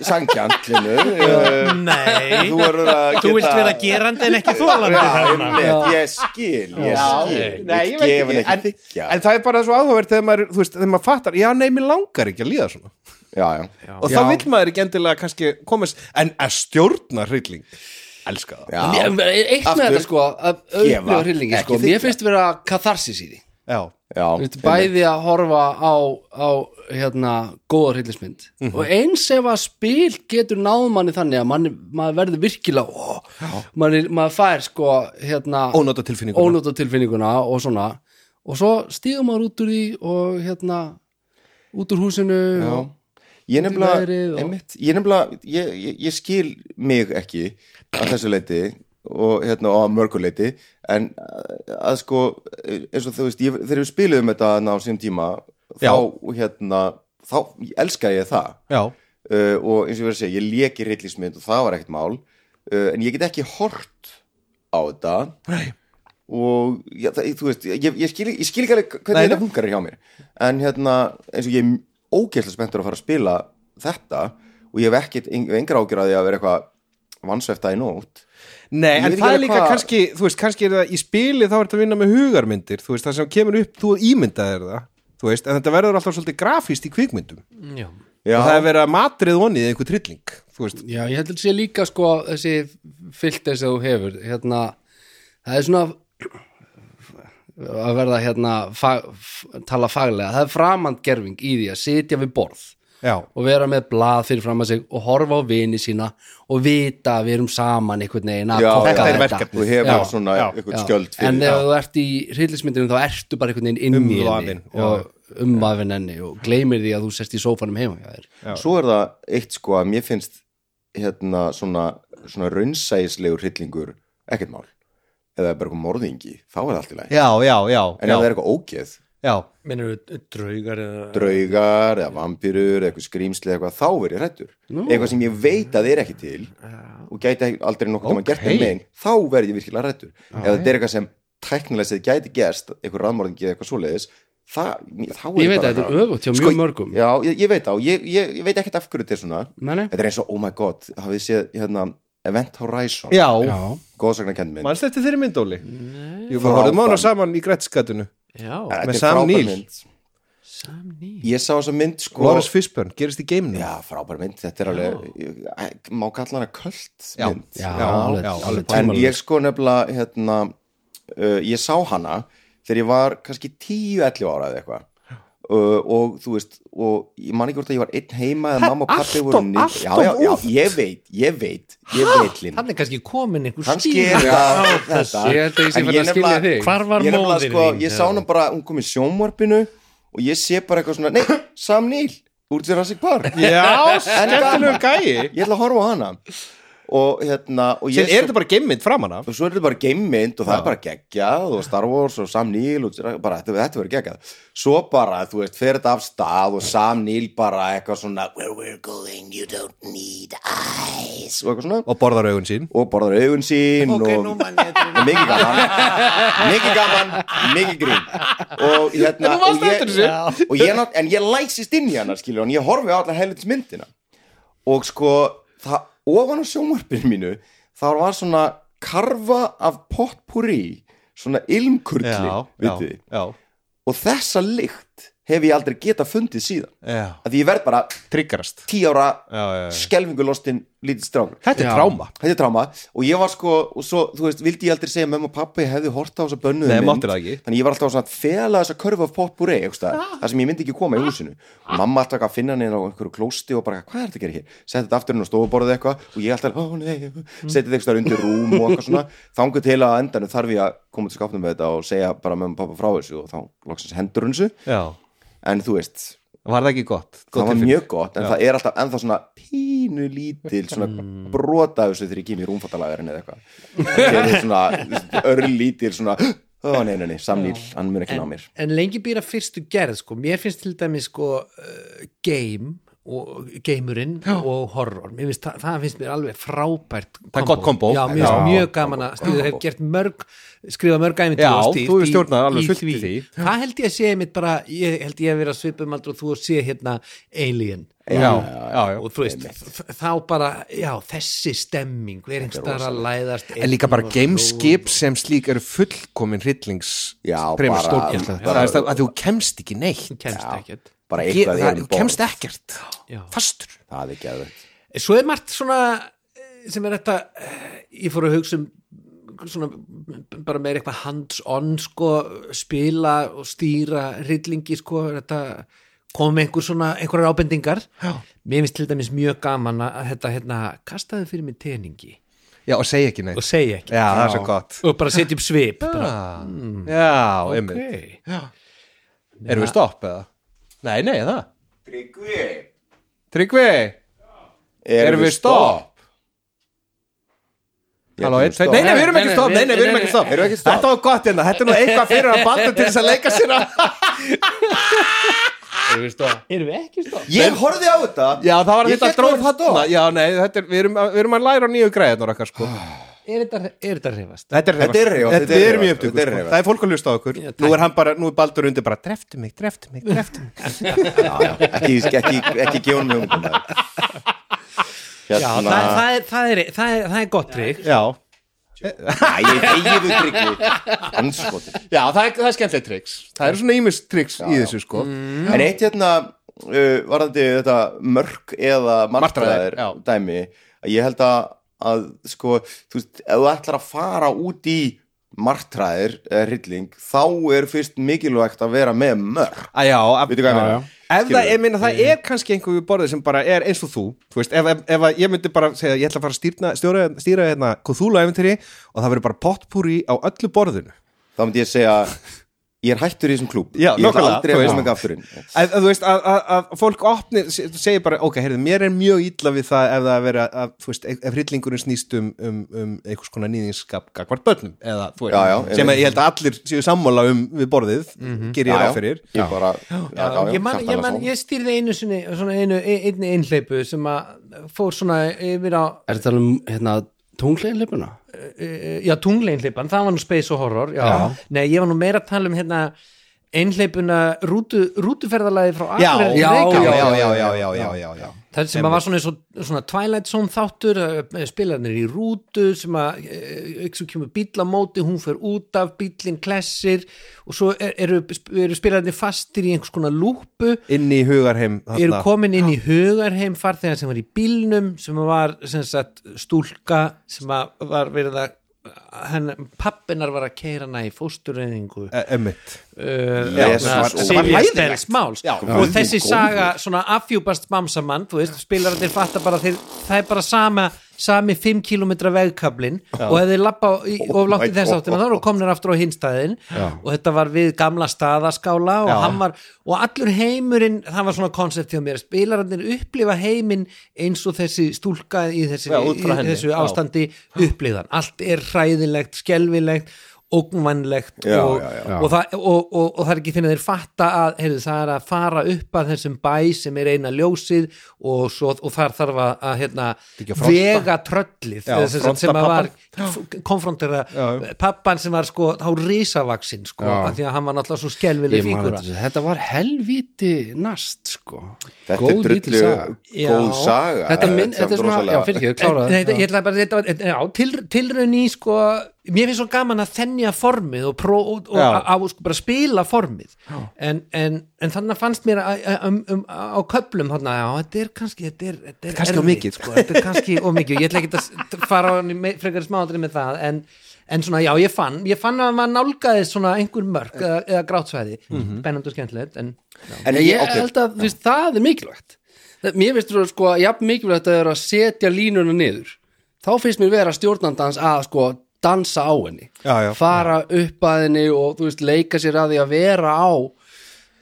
S3: sangjant uh,
S5: Nei,
S3: þú verður að geta
S5: þú vilt vera gerandi en ekki þólandi
S3: Já,
S5: þarna.
S3: einmitt, ég skil, ég skil
S2: Nei, ég veit
S3: gef henni
S2: ekki,
S3: ekki
S2: en,
S3: þykja
S2: en það er bara svo áhugavert þegar maður, þú veist, þegar maður fattar já, nei, mér langar ekki að líða svona
S3: já, já,
S2: og þá vill maður ekki endilega kannski komast, en að stjórna hrylling, elska það
S3: já,
S4: Mér- eitt
S3: Aftur.
S4: með þetta sko að
S3: Gefa,
S4: auðvitað hryllingi
S3: ekki
S4: sko,
S3: þykja.
S4: mér finnst vera katharsis í því
S2: já,
S3: já
S4: Þú veist, bæði að horfa á, á hérna, góða hryllismynd og eins ef að spil getur náð manni þannig að manni, maður verður virkilega ó, manni, maður fær sko hérna,
S2: ónóta tilfinningu
S4: ónóta tilfinninguna og svona og svo stíðum maður út úr því og hérna út úr húsinu og,
S3: ég
S4: Út í veðrið
S3: nefnilega,
S4: og-
S3: einmitt, ég nefnilega ég, ég, ég skil mig ekki að þessu leiti og hérna og að mörgu leiti en að, að sko, eins og þú veist ég, þegar við spiluðum þetta ná sem tíma
S2: Já.
S3: þá hérna þá elska ég það
S2: já,
S3: uh, og eins og ég verið að segja, ég leki reillismynd og það var ekkert mál uh, en ég get ekki hort á þetta
S2: Nei.
S3: og já, það, þú veist, ég, ég, skil, ég skil ekki alveg hvernig
S2: Nei,
S3: þetta hungar er hjá mér en hérna, eins og ég er ógeðslega spenntur að fara að spila þetta og ég hef ekkert eng- engar ágjur að því að vera eitthvað vansvefta í nótt
S2: nei,
S3: Ég veit
S2: en
S3: ekki
S2: það er
S3: alveg
S2: líka
S3: hvað-
S2: kannski þú veist, kannski er það í spili þá er þetta að vinna með hugarmyndir þú veist, það sem kemur upp, þú ímyndaðir það þú veist, en þetta verður alltaf svolítið grafíst í kvikmyndum
S1: Já.
S3: Já,
S2: og það er verið að matrið onnið einhver trilling, þú veist,
S4: Já, ég held að sé líka sko þessi filter sem þú hefur hérna, það er svona að verða hérna fag, f- tala faglega, það er framandgerfing í því að sitja við borð
S2: já
S4: og vera með blað fyrir fram að sig og horfa á vini sína og vita að við erum saman einhvern veginn að
S3: já,
S4: kokka
S3: já,
S2: þetta er
S4: þetta.
S2: verkefnið.
S3: þú hefur
S4: Já,
S3: svona
S2: já,
S3: eitthvað
S4: Já.
S3: skjöld
S4: en
S3: fyrir
S4: ef þú ert í hryllismyndunum þá ertu bara einhvern veginn inn í henni
S2: Umvafin, já.
S4: og umvafin henni og gleymir því að þú sest í sófanum heima hjá þér
S3: svo er það eitt sko að mér finnst hérna svona, svona raunsæðislegur hryllingur ekkert mál eða bara eitthvað morðingi, þá er það allt í lagi
S2: já, já, já,
S3: en ef það er eitthvað ógeð,
S2: já,
S1: minnur draugar eða
S3: draugar eða vampýrur, eitthvað skrýmsli eða eitthvað, þá verð ég hrættur eitthvað sem ég veit að er ekki til og gæti ekki- aldrei nokkuð okay.
S2: Ókei.
S3: gert um megin, þá verð ég virkilega hrættur ef það er eitthvað sem tæknilega séð gæti gerst, eitthvað raðmorðingi eða eitthvað svoleiðis það, þá er
S4: ég veit að
S3: bara Sko,
S4: þetta er öfugt hjá mjög mörgum
S3: Já, ég, ég veit það og ég, ég, ég veit ekkert af hverju þetta er svona
S4: Nei, nei.
S3: Þetta er eins og, oh my god, hafið þið séð hérna, Event Horizon,
S2: já, já.
S4: Já.
S3: góðsagnarkennd minn
S2: mannst þetta þeirri mynd, Óli Jú, við horfum á hana saman í grætskatinu
S3: Eh.
S1: já,
S2: með Sam Neill.
S1: samný
S3: Ég sá þessa mynd sko
S2: Lawrence Fishburne, gerist í geimnum
S3: Já, frábær mynd, þetta er alveg ég- má kalla hana köld
S2: Já.
S3: mynd
S4: Já,
S2: Já,
S4: alveg,
S2: já,
S4: alveg
S3: En
S4: tímalög
S3: ég sko nefnilega hérna, uh, ég sá hana þegar ég var kannski 10-11 ára eða eitthvað Uh, og þú veist, og ég man ekki hvort að ég var einn heima eða mamma og pappi voru niður já, já, já, ég veit, ég veit ég veit, Linn,
S1: hann er kannski komin einhver
S3: kannski
S1: stíl
S3: er það þetta
S4: Ég held að ég sé
S3: En
S4: fyrir að skilja
S3: nefnilega-
S4: þig
S5: Hvar var
S3: ég nefnilega
S5: móðir
S3: sko,
S5: þín?
S3: ég sá hana bara, hún kom í sjónvarpinu og ég sé bara eitthvað svona, nei, Sam Neill úr Jurassic Park,
S2: Já,
S3: En gaman.
S2: skemmtilegur gæi
S3: ég ætla að horfa á hana og hérna og
S2: Sér
S3: ég
S2: er þetta bara geimmynd framan af
S3: og svo er þetta bara geimmynd og það er bara geggjað og Star Wars og Sam Neill og bara, þetta, þetta verður geggjað svo bara, þú veist, fer þetta af stað og Sam Neill bara eitthvað svona where we're going you don't need eyes og eitthvað svona
S2: og borðar augun sín
S3: og borðar augun sín og, og mikið gaman mikið gaman, mikið grín og hérna og ég, og ég, nátt- en ég læsist inn í hana skilur hann, ég horfi á alla helvits myndina og sko það, ofan á sjónvarpinu mínu þá var svona karfa af potpúri svona ilmkurli
S2: já, já,
S3: vitið þið.
S2: já,
S3: og þessa lykt hef ég aldrei geta fundið síðan
S2: já.
S3: að því ég verð bara
S2: triggerast
S3: tí ára
S2: já, já, já.
S3: skelfingulostin lítið strákur
S2: þetta er tráma
S3: þetta er tráma og ég var sko og svo, þú veist, vildi ég aldrei segja mömmu og pappa ég hefði hort á þessa bönnuðu
S2: Nei, máttir það ekki.
S3: þannig ég var alltaf svona að fela þessa körfu af potpúri það sem ég myndi ekki koma í húsinu og mamma alltaf að finna hann inn á einhverju klósti og bara, hvað er þetta að gera hér, setja þetta aftur inn á stofuborðið eitthvað og ég alltaf, ó nei setja þetta eitthvað undir rúm og eitthvað svona þangu til að á endanum þarf ég að koma til skapnum með þetta og segja bara mömmu og pappa frá þessu og þá loksins hendur hún þessu
S2: já,
S3: en þú veist,
S2: var það ekki gott, gott
S3: það var
S2: tilfinning?
S3: mjög gott en það er alltaf ennþá svona pínu lítil svona
S2: Hmm.
S3: brota af þessu þegar ég kem í rúmfattalagarinn eða eitthvað það er svona örlítil svona ó nei, nei, nei, samnýl, hann mun ekki ná mér
S1: en lengi býra fyrstu gerð sko. mér finnst til dæmis sko, uh, game og geimurinn og horror, mér finnst, það, það finnst mér alveg frábært
S2: er gott kombó.
S1: já, mér
S2: Já,
S1: finnst mjög gaman að stíða, hef gert mörg skrifa mörg æmynd
S2: Já, þú hefur stjórnað alveg fullt í því.
S1: það held ég að sé mitt bara, ég held ég að vera svipum aldrei og þú að sé hérna Alien
S2: já, já, já.
S1: og þú veist, þ- þá bara já, þessi stemming, við erum staðar að læðast
S2: en líka bara
S1: einn og-
S2: gameskip sem slík eru fullkomin hryllings
S3: Já,
S2: fremur
S3: bara-
S2: stórkjöld
S3: Já,
S2: það
S3: já.
S2: er það að þú kemst ekki neitt
S1: kemst ekkert
S3: bara
S2: Ge-
S3: eitthvað
S2: það-
S3: er um
S2: þú
S3: borð,
S2: kemst ekkert
S1: Já.
S2: fastur
S3: það er geðveikt
S1: Eh, svo er margt svona eh, sem er þetta eh, ég fór að hugsa um svona b- bara meir eitthvað hands on sko, spila og stýra rillingi sko, þetta kom með einhver svona, einhverjar ábendingar Já. mér finnst til dæmis mjög gaman að þetta hérna, kastaði fyrir mig teningi
S2: já, og segja ekki
S1: og
S2: neitt
S1: segja ekki
S2: já, það er svo gott
S1: og bara setja upp svip bara,
S2: já, já einmitt
S1: okay.
S2: erum við stopp eða? nei, nei, það Tryggvi, erum við stopp? Halló, einn, tveir, nei, nei, við erum ekki stopp, nei, nei, við erum ekki stopp
S3: Erum við ekki stopp?
S2: Þetta var gott hérna, þetta er nú eitthvað fyrir að banda til þess að leika sér að
S1: erum við ekki stopp?
S3: ég horfði á þetta
S2: Já, það var
S3: Ég
S2: þetta
S3: hélt
S2: dróð
S3: við vorum stopp.
S2: þarna. Já, nei, þetta er, við erum, að- við erum að læra á nýju greiðnar okkar, sko
S1: er þetta, er þetta reyfast?
S2: Þetta er
S3: Þetta er
S2: reyfast,
S3: reyfast,
S2: þetta
S3: þetta er
S2: er mjög
S3: reyfast,
S2: upptöku
S3: þetta er
S2: sko.
S3: reyfast.
S2: Það er fólk að hlusta á okkur, nú er hann bara, nú er Baldur undir bara Dreftu mig, dreftu mig, dreftu mig
S3: já, já, ekki, ekki, ekki gefunum við ungum
S1: Já, það,
S3: um hérna
S1: það, er, það, er, það, er, það er gott trygg
S2: Já,
S3: Æ, ég þegið við tryggvi anskotin
S2: já, það er, það er skemmtilegt triks Það eru svona ímis triks í þessu, sko
S3: En eitt hérna uh, varðandi þetta mörk eða
S2: Martraðir,
S3: martraðir
S2: já.
S3: dæmi að ég held að, að sko, þú veist, ef þú ætlar að fara út í martraðir eða hrylling, þá er fyrst mikilvægt að vera með mörk
S2: Að já, að,
S3: Veitu hvað ég
S2: já,
S3: meina?
S2: já. Ef það,
S3: Skilurðu?
S2: ég meina, það er kannski einhver við borðið sem bara er eins og þú, þú veist, ef, ef, ef að ég myndi bara segja, ég ætla að fara að stýrna, stjóra, stýra hérna Cthulhu-eventýri og það verður bara pottpúri á öllu borðinu
S3: þá myndi ég segja ég er hættur í þessum klúb
S2: Já,
S3: ég ætla
S2: nákvæmlega,
S3: aldrei
S2: þú
S3: að
S2: veist.
S3: vera með gafturinn
S2: að, að þú veist, að, að, að fólk opni, se- segir bara, ok, heyrðu, mér er mjög illa við það ef það er verið að, að, þú veist, ef hryllingurinn snýst um, um, um einhvers konar nýðingskap gagvart börnum, eða, þú veist,
S3: Já, já,
S2: sem að
S3: einmitt.
S2: ég held að allir séu sammála um við borðið, mm -hmm. ger ég ráð fyrir
S3: ég bara já, já,
S1: ég, man, ég,
S3: hjartanlega
S1: man,
S3: sammála.
S1: ég stýrði einu sinni svona einu, ein- einni einhleipu sem að fór svona yfir á
S4: Er þetta alveg um, hérna, tungleginleipuna?
S1: eh, já, tungleinhleipan, það var nú space og horror já. nei, ég var nú meira að tala um hérna einhleipuna rútu, rútuferðalagi frá
S2: Já,
S1: Akureyri til
S2: já, já,
S1: Reykjavíkur.
S2: já, já, já, já, já, já, já.
S1: Það sem að var svona, eins og, svona Twilight Zone þáttur, eh, spilarnir í rútu sem að, eh, ekki svo kemur bíl á móti, hún fer út af, bílinn klessir og svo er- eru, eru spilarnir fastir í einhvers konar lúpu
S2: inn í hugarheim
S1: eru
S2: þarna.
S1: komin inn í hugarheim farþegar sem var í bílnum sem var sem sagt, stúlka sem að var verið að henn, pappinar var að keira hana í fósturreiningu uh,
S2: Eh, einmitt
S3: Jesus,
S1: hérna,
S3: þetta var
S1: Silja
S2: hræðilegt.
S1: Stens máls
S2: Já.
S1: sko. og þessi
S3: Guð góður.
S1: saga svona afhjúpast bamsamann, þú veist, spilararnir fatta bara þeir, það er bara sama sami 5 km vegkablin og ef þeir lappa og
S3: my
S1: látti þess
S3: God.
S1: áttina þá eru komnir aftur á hinstæðin og þetta var við gamla staðaskála og, hann var, og allur heimurinn það var svona koncept hjá mér, spilararnir upplifa heiminn eins og þessi stúlka í, þessi,
S7: Já, út
S1: í
S7: frá henni,
S1: þessu
S7: já.
S1: ástandi upplifan, allt er hræðilegt skelvilegt, ógnvænlegt
S3: Já,
S1: og,
S3: já, já.
S1: og það, og, og, og það er ekki finnir þeir fatta að heyrðu, það er að fara upp að þessum bæ sem er eina ljósið og, svo, og þar þarf að, að hérna, vega tröllið
S2: Já,
S1: eða sem, sagt, sem
S2: fronta
S1: að var konfrontera pappan sem var sko þá risavaksin sko
S4: Já.
S1: af því að hann var náttúrulega svo skelvileg
S4: Ég man
S1: fíkura
S4: þetta sem- þetta var helvíti nast sko
S3: Þetta
S4: Góð
S3: er drullu
S4: lítil saga.
S3: góð
S1: Já.
S3: saga
S4: Þetta, minn,
S3: samt
S4: þetta er svona, já
S3: rosalega-
S4: fyrir ekki,
S1: En,
S4: klára
S1: nei, þetta- ég ætla bara að þetta var en- já, til, tilraun í sko mér finnst svo gaman að þennja formið og, pró, og, og
S2: Já.
S1: að, að sko, bara spila formið en, en, en þannig að fannst mér að, að, um, um, á köplum þarna, já, þetta er kannski þetta er, þetta er
S2: kannski of
S1: erfitt,
S2: mikið.
S1: sko, þetta er kannski og mikið, ég ætla ekki að s- fara á hann í me- frekar smáðri með það en, en svona, já, ég fann, ég fann að maður nálgaði svona einhver mörk eða, eða grátsvæði
S2: Mhm.
S1: spennandi og skemmtilegt en
S3: En
S4: Ég,
S3: ég, ok,
S4: held að viðst, það er mikilvægt Það- Mér finnst þú sko, jafn mikilvægt að það er að setja línuna niður Þá finnst mér vera stjórnandans að sko dansa á henni
S2: Já, já.
S4: Fara upp að henni og þú veist, leika sér að því að vera á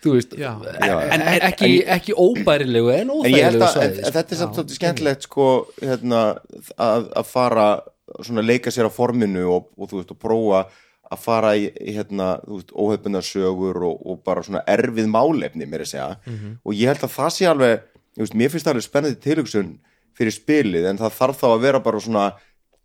S4: Þú veist,
S1: Já.
S4: En, en, ekki, ekki óbærilegu en
S3: en ég held
S4: óþægilegu
S3: að en,
S4: svæði sko.
S3: en þetta er samt svolítið skemmtilegt sko, hérna, að, að fara svona leika sér á forminu og, og þú veist og prófa að fara í, í hérna, þú veist, óhefnarsögur og, og bara svona erfið málefni mér að segja
S2: Mhm.
S3: og ég held að það sé alveg þú veist, mér finnst það alveg spennandi tilhugsun fyrir spilið en það þarf þá að vera bara svona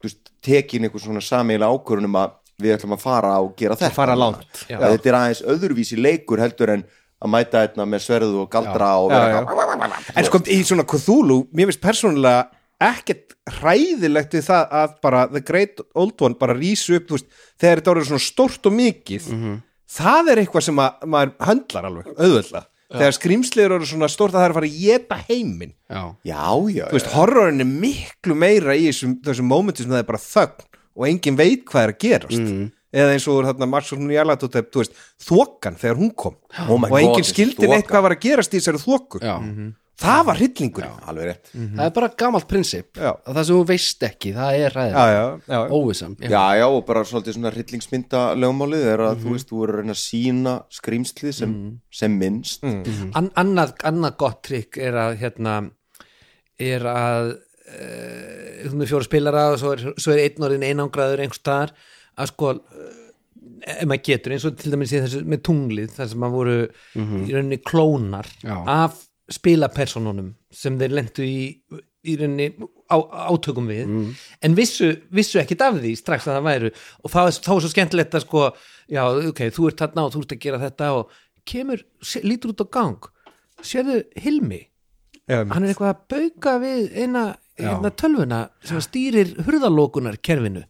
S3: þú veist, tekin einhver svona sameiginlega ákvörun um að við ætlum að fara og gera þetta
S2: fara langt.
S3: Að þetta er aðeins öðruvísi leikur heldur en að mæta hérna með sverðu og galdra og vera
S2: Já, já.
S3: eitthvað
S2: en sko í svona Cthulhu mér finnst persónulega ekkert hræðilegt við það að bara The Great Old One bara rísu upp þú veist, þegar þetta orðið svona stórt og mikið það er eitthvað sem að, maður höndlar alveg auðvöldlega þegar skrýmsliður eru svona stórt að það er að fara að geta heiminn
S4: Já,
S3: Já, já,
S2: þú veist, horrorin er miklu meira í þessum, þessum momentum sem það er bara þögn og enginn veit hvað er að gerast eða eins og þú er þarna Marks og Nýjalatotep þú veist, þokan þegar hún kom oh og
S3: God,
S2: enginn
S3: þessi
S2: skildi neitt
S3: þoka.
S2: hvað var að gerast í þessari þoku
S4: já
S2: það var hryllingur já,
S3: alveg rétt
S4: Mhm. Það er bara gamalt prinsip
S2: Já.
S4: að það sem þú veist ekki, það er
S2: já,
S4: ræðið
S2: já, já.
S4: Óvissan
S3: Já, já, og bara svolítið svona hryllingsmynda lögmálið er að
S2: Mhm.
S3: þú veist, þú eru að reyna að sína skrýmslið sem, sem minnst
S2: Mhm.
S1: An, annað, annað gott trikk er að hérna, er að eh, þú með fjóra spilara og svo er, svo er einn orðin einangraður einhvers staðar að sko eh, ef maður getur eins og til dæmis í þessu með tunglið þar sem maður voru í rauninni klónar
S4: Já.
S1: af spilapersonunum sem þeir lentu í í rauninni á, átökum við en vissu, vissu ekkit af því strax að það væru og þá er, þá er svo skemmtilegt að sko já ok, þú ert þarna og þú ert að gera þetta og kemur, sé- lítur út á gang sérðu Hilmi hann er eitthvað að bauka við eina hérna, tölvuna sem stýrir hurðalokunar kerfinu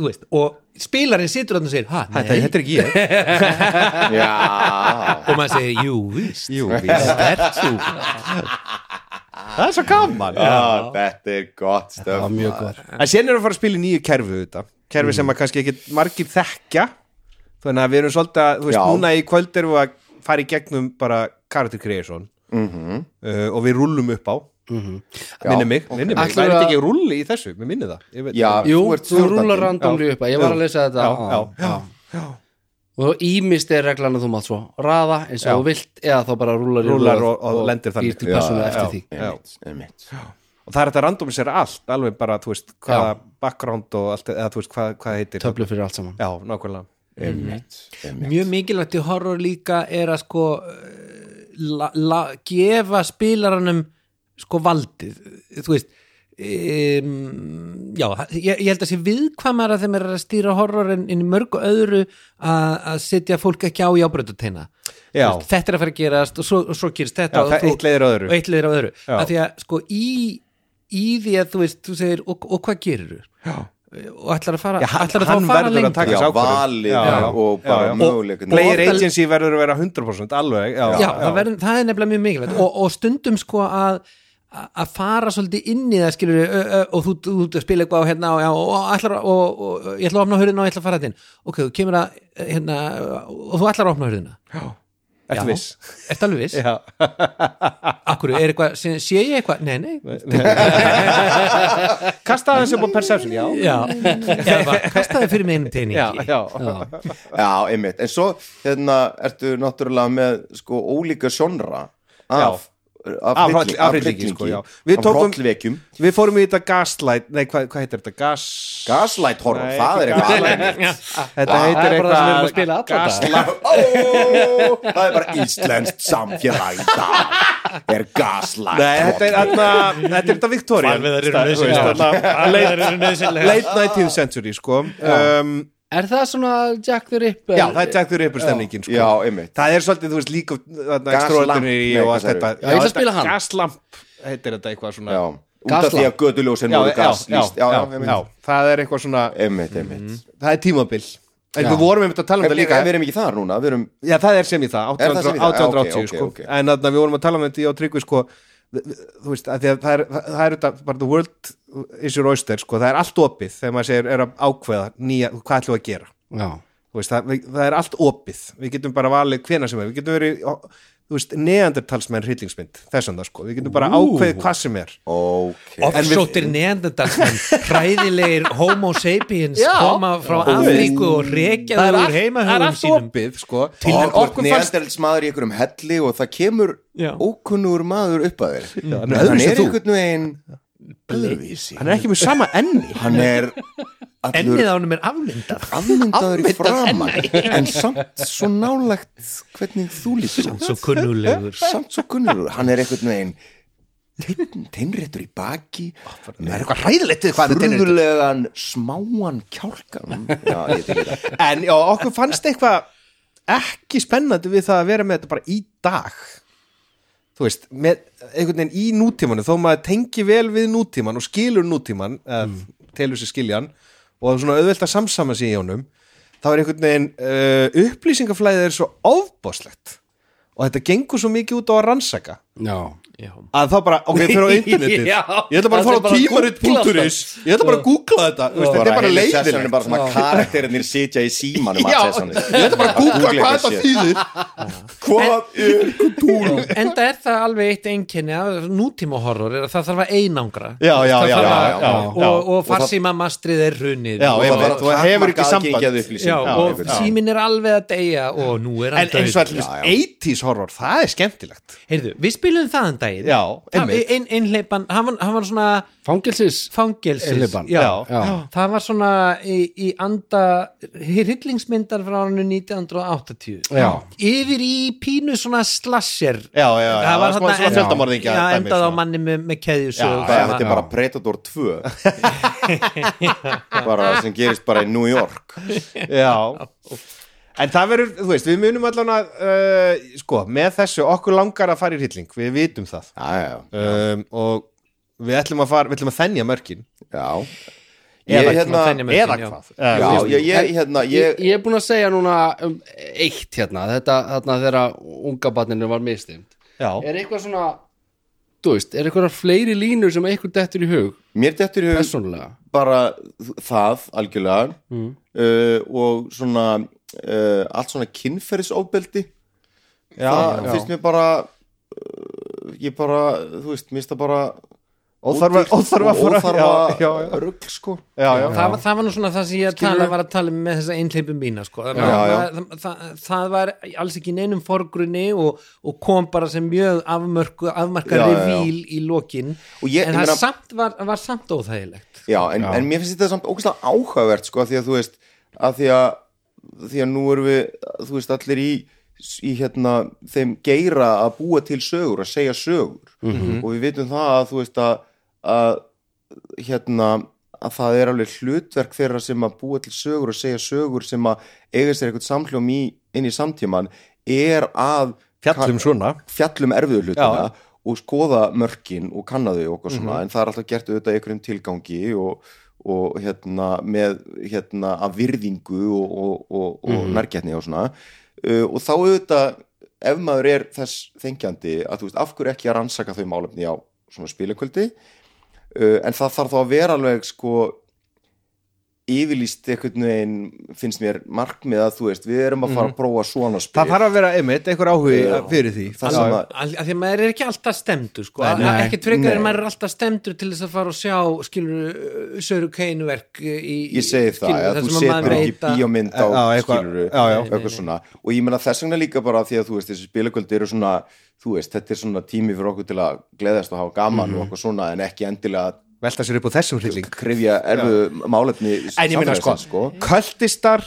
S1: veist, og spilarinn situr þarna og segir ha, nei,
S2: Þetta, þetta er ekki ég
S3: Já,
S1: og maður segir, jú, víst
S2: Jú, víst.
S1: Ert þú?
S2: það er svo gaman
S3: já, þetta er gott stöf
S4: Mjög góð
S2: en síðan erum við að fara að spila í nýju kerfi þetta kerfi sem að kannski ekki margir þekkja þannig að við erum svolítið að þú veist,
S3: Já.
S2: núna í kvöld erum við að fara í gegnum bara character creation
S3: Mhm.
S2: uh, og við rúllum upp á minni mig, minni mig,
S4: Ætlarðu
S2: það
S4: að-
S2: er þetta ekki rúlli í þessu mér minni það, ég veit
S3: Já,
S4: Jú,
S3: þú ert
S4: þú rúlar
S3: stjórnandinn.
S4: randomli upp að ég var að lesa þetta
S2: já,
S4: á-
S2: já, já,
S4: og ímist er reglan að þú mátt svo raða eins og
S2: Já.
S4: þú vilt eða þá bara rúlar í
S2: Rúllar
S4: rúð
S2: og- og lendir þannig.
S4: býr til persónu
S3: Já,
S4: eftir
S2: já.
S4: því
S3: Einmitt, einmitt.
S2: og það er þetta randomisera allt, alveg bara þú veist, hvaða background og allt, eða þú veist, hvað, hvað heitir
S4: töflu fyrir allt saman
S2: já, nákvæmlega
S3: Einmitt, einmitt.
S1: mjög mikilvægt í horror líka er að sko eh, la, la, gefa spilaranum sko valdið þú veist um, já, ég, ég held að sé viðkvæmara þegar maður er að stýra horror en, en í mörgu öðru að, að setja fólk ekki á jábröðuteina
S2: Já.
S1: þetta er að fara að gerast og svo, og svo gerist þetta
S2: Já,
S1: og
S2: það-
S1: þú-
S2: eitt leiðir að öðru.
S1: og eitt leiðir á öðru
S2: Já.
S1: að því að sko í, í því að þú veist, þú segir og, og hvað gerir þú? og ætlar að fara
S2: Já, hann-
S1: ætlar að
S2: hann
S1: þá fara
S2: verður að taka-
S1: lengra
S3: Já,
S2: Þessi ákvörðun.
S3: valið
S2: Já, já.
S3: og
S2: Já, já.
S3: bara
S2: Og-
S3: möguleikin
S2: player agency verður að vera 100% alveg, já,
S1: já, Það, verður, það er nefnilega mjög mikilvægt og, og stundum sko að að fara svolítið inn í það skilur og þú, þú, þú spila eitthvað og hérna og, já, og, ætlar, að- og, og, og ég eh, ætla að opna hurðina og ég ætla að fara þetta inn ok, þú kemur að hérna, og þú ætlar að opna hurðina
S2: Ertu
S1: Já.
S2: viss?
S1: Ertu alveg viss?
S2: Já.
S1: Akkur, er eitthvað, sé, sé ég eitthvað? Nei, nei,
S2: Kasta aðeins upp á Perception, já
S1: já Eða bara, kastaði fyrir mig einum teiningi
S2: Já, já,
S3: Já, einmitt, en svo hérna ertu náttúrulega með sko ólíka sjónra af, af,
S2: Af
S3: hrylli-
S2: hrylli- af hryllingi, sko, já. Við
S3: af
S2: tókum-
S3: hrollvekjum
S2: Við fórum í þetta gaslight, nei, hvað, hvað heitir þetta? Gas...
S3: Gaslight horror,
S2: Nei,
S3: það er
S2: ekki
S3: eitthvað
S2: gaslight.
S3: alveg
S2: Þetta
S4: Ah, Það
S2: heitir
S4: er bara það sem við erum að
S2: eitthvað
S4: spila alla dag
S3: Ó, Það er bara íslenskt samfélag í dag er gaslight
S2: Nei, þetta er
S3: horror.
S2: þarna, þetta er þetta Victoria
S5: Hvalveiðar eru nauðsynlegar. Hvalveiðar eru nauðsynlegar.
S2: Late 19th century, sko um,
S4: Er það svona Jack the Ripper?
S2: Já, það er Jack the Ripper stemningin, sko
S3: Já, einmitt
S2: Það er svolítið, þú veist, líka þarna,
S3: Gaslamp,
S2: Extraordinary
S3: nei,
S2: og
S3: hvað
S2: allt
S3: sagði
S2: þetta
S4: Já, ég ætla að
S2: þetta-
S4: spila hann.
S2: Gaslamp heitir þetta eitthvað svona
S3: já. Út af því að göduljósin voru gas
S2: já,
S3: já, já,
S2: já, já,
S3: einmitt
S2: það er eitthvað svona
S3: Einmitt, einmitt
S2: það er tímabil en
S4: Já.
S2: við vorum einmitt að tala um
S3: En
S2: þetta
S3: líka,
S2: líka
S3: en við erum ekki þar núna, við erum
S2: já það er sem í það,
S3: Er það sem í
S2: 1800
S3: það?
S2: 1880
S3: Já, ok, ok,
S2: sko.
S3: ok.
S2: en þannig að við vorum að tala um þetta í á tryggvi sko, þú veist, að því að það er það er þetta, bara the world is your oyster sko, það er allt opið þegar maður segir er að ákveða nýja, hvað ætlum við að gera
S4: Já,
S2: Þú veist, það, við- það er allt opið, við getum bara valið hvena sem er, við getum verið ó, þú veist, neandertalsmenn hryllingsmynd þessan það sko, við getum bara ákveðið hvað sem er
S3: Ok,
S1: Offsóttir neandardalsmenn, hræðilegir homo sapiens koma frá Afríku og rekja
S2: það er allt,
S1: það úr
S2: það er
S1: heimahugum
S2: allt
S1: sínum
S2: opið sko,
S3: og
S2: en
S3: þú ert
S2: okkur fannst
S3: neandertals maður í einhverjum helli og það kemur
S1: Já.
S3: ókunnur maður upp að þér
S2: Já, hann
S3: En
S2: er
S3: hann
S2: öðruvísi en
S3: er
S2: þú.
S3: einhvern veginn öðruvísi
S2: hann er ekki með sama enni
S3: hann er allur
S1: Ennið á honum er aflindað
S3: afmyndaður í framan en samt svo nálægt hvernig þú lítur út.
S1: Svo kunnulegur
S3: samt svo kunnur hann er einhvern veginn teinn- teinréttur í baki með
S2: eitthvað hræðilegt við hvað er þetta
S3: þurðulegan smáan kjálkan já, ég tekið það
S2: en já, okkur fannst eitthvað ekki spennandi við það að vera með þetta bara í dag þú veist, með einhvern veginn í nútímanu þó maður tengi vel við nútíman og skilur nútíman mm. telur sér skiljan og það er svona auðvelt að samsama sig í honum þá er einhvern veginn uh, upplýsingaflæðið er svo ofbóðslegt og þetta gengur svo mikið út á að rannsaka
S4: já
S1: Já.
S2: að þá bara, ok, fyrir á internetið
S4: Já.
S2: ég ætla bara að
S4: Það er bara
S2: fara á
S4: að googla
S2: tímarit.is ég ætla bara að googla þetta þú veist, þetta er bara
S3: heilu
S2: leiðilegt
S3: sessionin er bara svona karakterinir sitja í símanum
S2: Já,
S3: að sessionin.
S2: ég ætla bara að googla
S3: Googla
S2: hvað þetta
S3: eitthvað sé.
S2: þýðir
S3: hvað er kutúlum
S1: Enda er það alveg eitt einkenni af nútíma horror er að það þarf að einangra
S2: já, já,
S1: Það
S2: já,
S1: þarf
S2: já,
S1: að-
S2: já, já.
S1: og, og farsíma mastrið er runið
S2: Já,
S1: og,
S2: einmitt.
S3: bara
S2: þú hefur ekki
S3: takmarkað
S2: samband.
S3: aðgengi að upplýsingum.
S1: já, og
S3: einhvern veginn.
S1: símin er alveg að deyja og nú er hann
S2: en eins og
S1: dauð
S2: allir 80s horror, það er skemmtilegt
S1: Heyrðu, við spilum það en daginn
S2: Já, einmitt.
S1: einmitt Einhleipan, hann, var- hann var svona
S4: Fangelsis
S1: fangelsis
S4: Einhleypan.
S2: Já.
S4: Já.
S1: Það var svona í, í anda hryllingsmyndar frá árinu 1980
S4: Já.
S1: Yfir í pínu svona slasher
S2: já, já, já,
S1: Það var
S2: svona,
S1: þarna
S2: svona
S1: en-
S2: fjöldamorðingja
S1: Já,
S2: dæmi,
S1: endað á
S2: svona.
S1: manni með, með keðjusög
S3: Það, þetta er bara Predator 2 bara sem gerist bara í New York
S2: já en það verður, þú veist, við munum allan að uh, sko, með þessu, okkur langar að fara í hrylling, við vitum það
S3: já, já,
S2: um, og við ætlum að fara við ætlum að þennja mörkin
S3: já. Ég,
S2: Eða-
S3: hérna,
S1: þenni mörkin,
S2: eða
S1: já.
S2: hvað
S3: já, ég, ég, hérna,
S4: Ég,
S3: ég,
S4: ég er búin að segja núna um eitt hérna, þetta þarna þegar unga barninu var mistimt.
S2: já,
S4: Er eitthvað svona, þú veist, er eitthvað fleiri línur sem eitthvað dettur í hug,
S3: mér dettur í hug
S4: persónulega?
S3: bara það algjörlega
S2: Mm.
S3: uh, og svona uh, allt svona kynferðisofbeldi það
S2: já.
S3: finnst mér bara uh, ég bara, þú veist, mér finnst það bara
S2: Óþarfa-
S3: ódýrt
S2: óþarfa
S3: og
S2: fara- já, já, já.
S3: óþarfa rugg sko
S2: já, já.
S1: það, var- það var nú svona það sem ég
S3: Skilurðu?
S1: tala, var að tala um með þessa einhleipum mína sko. það,
S3: Já, já.
S1: Það, það, það var alls ekki í neinum forgrunni og, og kom bara sem mjög afmörku, afmarka
S3: Já, já, já.
S1: revíl í lokin
S3: Og ég-
S1: en
S3: ég
S1: það
S3: meina-
S1: samt var, var samt óþægilegt
S3: Já, en, en mér finnst þetta samt ógæslega áhugavert sko, að því að þú veist að því að, því að nú erum við þú veist, allir í, í hérna, þeim geira að búa til sögur að segja sögur og við vitum það að þú veist að, að hérna að það er alveg hlutverk þeirra sem að búa til sögur og segja sögur sem að eiga sér eitthvað samhljóm í, inn í samtíman er að
S2: fjallum svona
S3: fjallum erfiðu hlutina og skoða mörkin og kanna þau og okkur svona
S2: Mhm.
S3: en það er alltaf gert auðvitað í einhverjum tilgangi og, og hérna með hérna að virðingu og, og, og, og
S2: Mhm.
S3: nærgætni og svona uh, og þá auðvitað ef maður er þess þengjandi að þú veist af hverju ekki að rannsaka þau málefni á svona spilakvöldi uh, en það þarf þá að vera alveg sko yfirlýst einhvern veginn finnst mér markmið að þú veist við erum að fara að prófa svona spil
S2: Mhm. það þarf að vera einmitt einhver áhugi fyrir því
S3: það sem að
S1: Al- af því að maður er ekki alltaf stemdur sko. nei,
S4: nei.
S1: ekki frekar en
S3: Nei.
S1: maður er alltaf stemdur til þess að fara og sjá skilur Söru Keinverk í,
S3: ég segi það,
S1: skilurðu,
S3: að
S1: þar
S3: þú
S1: sem að maður
S3: setur ekki
S1: veit að-
S3: bíómynd á
S2: Já, eitthvað-
S3: skiluru,
S2: já, já.
S3: eitthvað svona og ég menna þess vegna líka bara því að þú veist þessi spilakvöld eru svona, þú veist, þetta er svona tími fyrir okkur til að gleðast og hafa gaman og
S2: Mhm.
S3: okkur svona en ekki endilega
S2: velta sér upp úr þessum hrylling
S3: krifja erfu málefni
S2: en ég minna sko,
S3: samfélagsins, sko.
S2: kultistar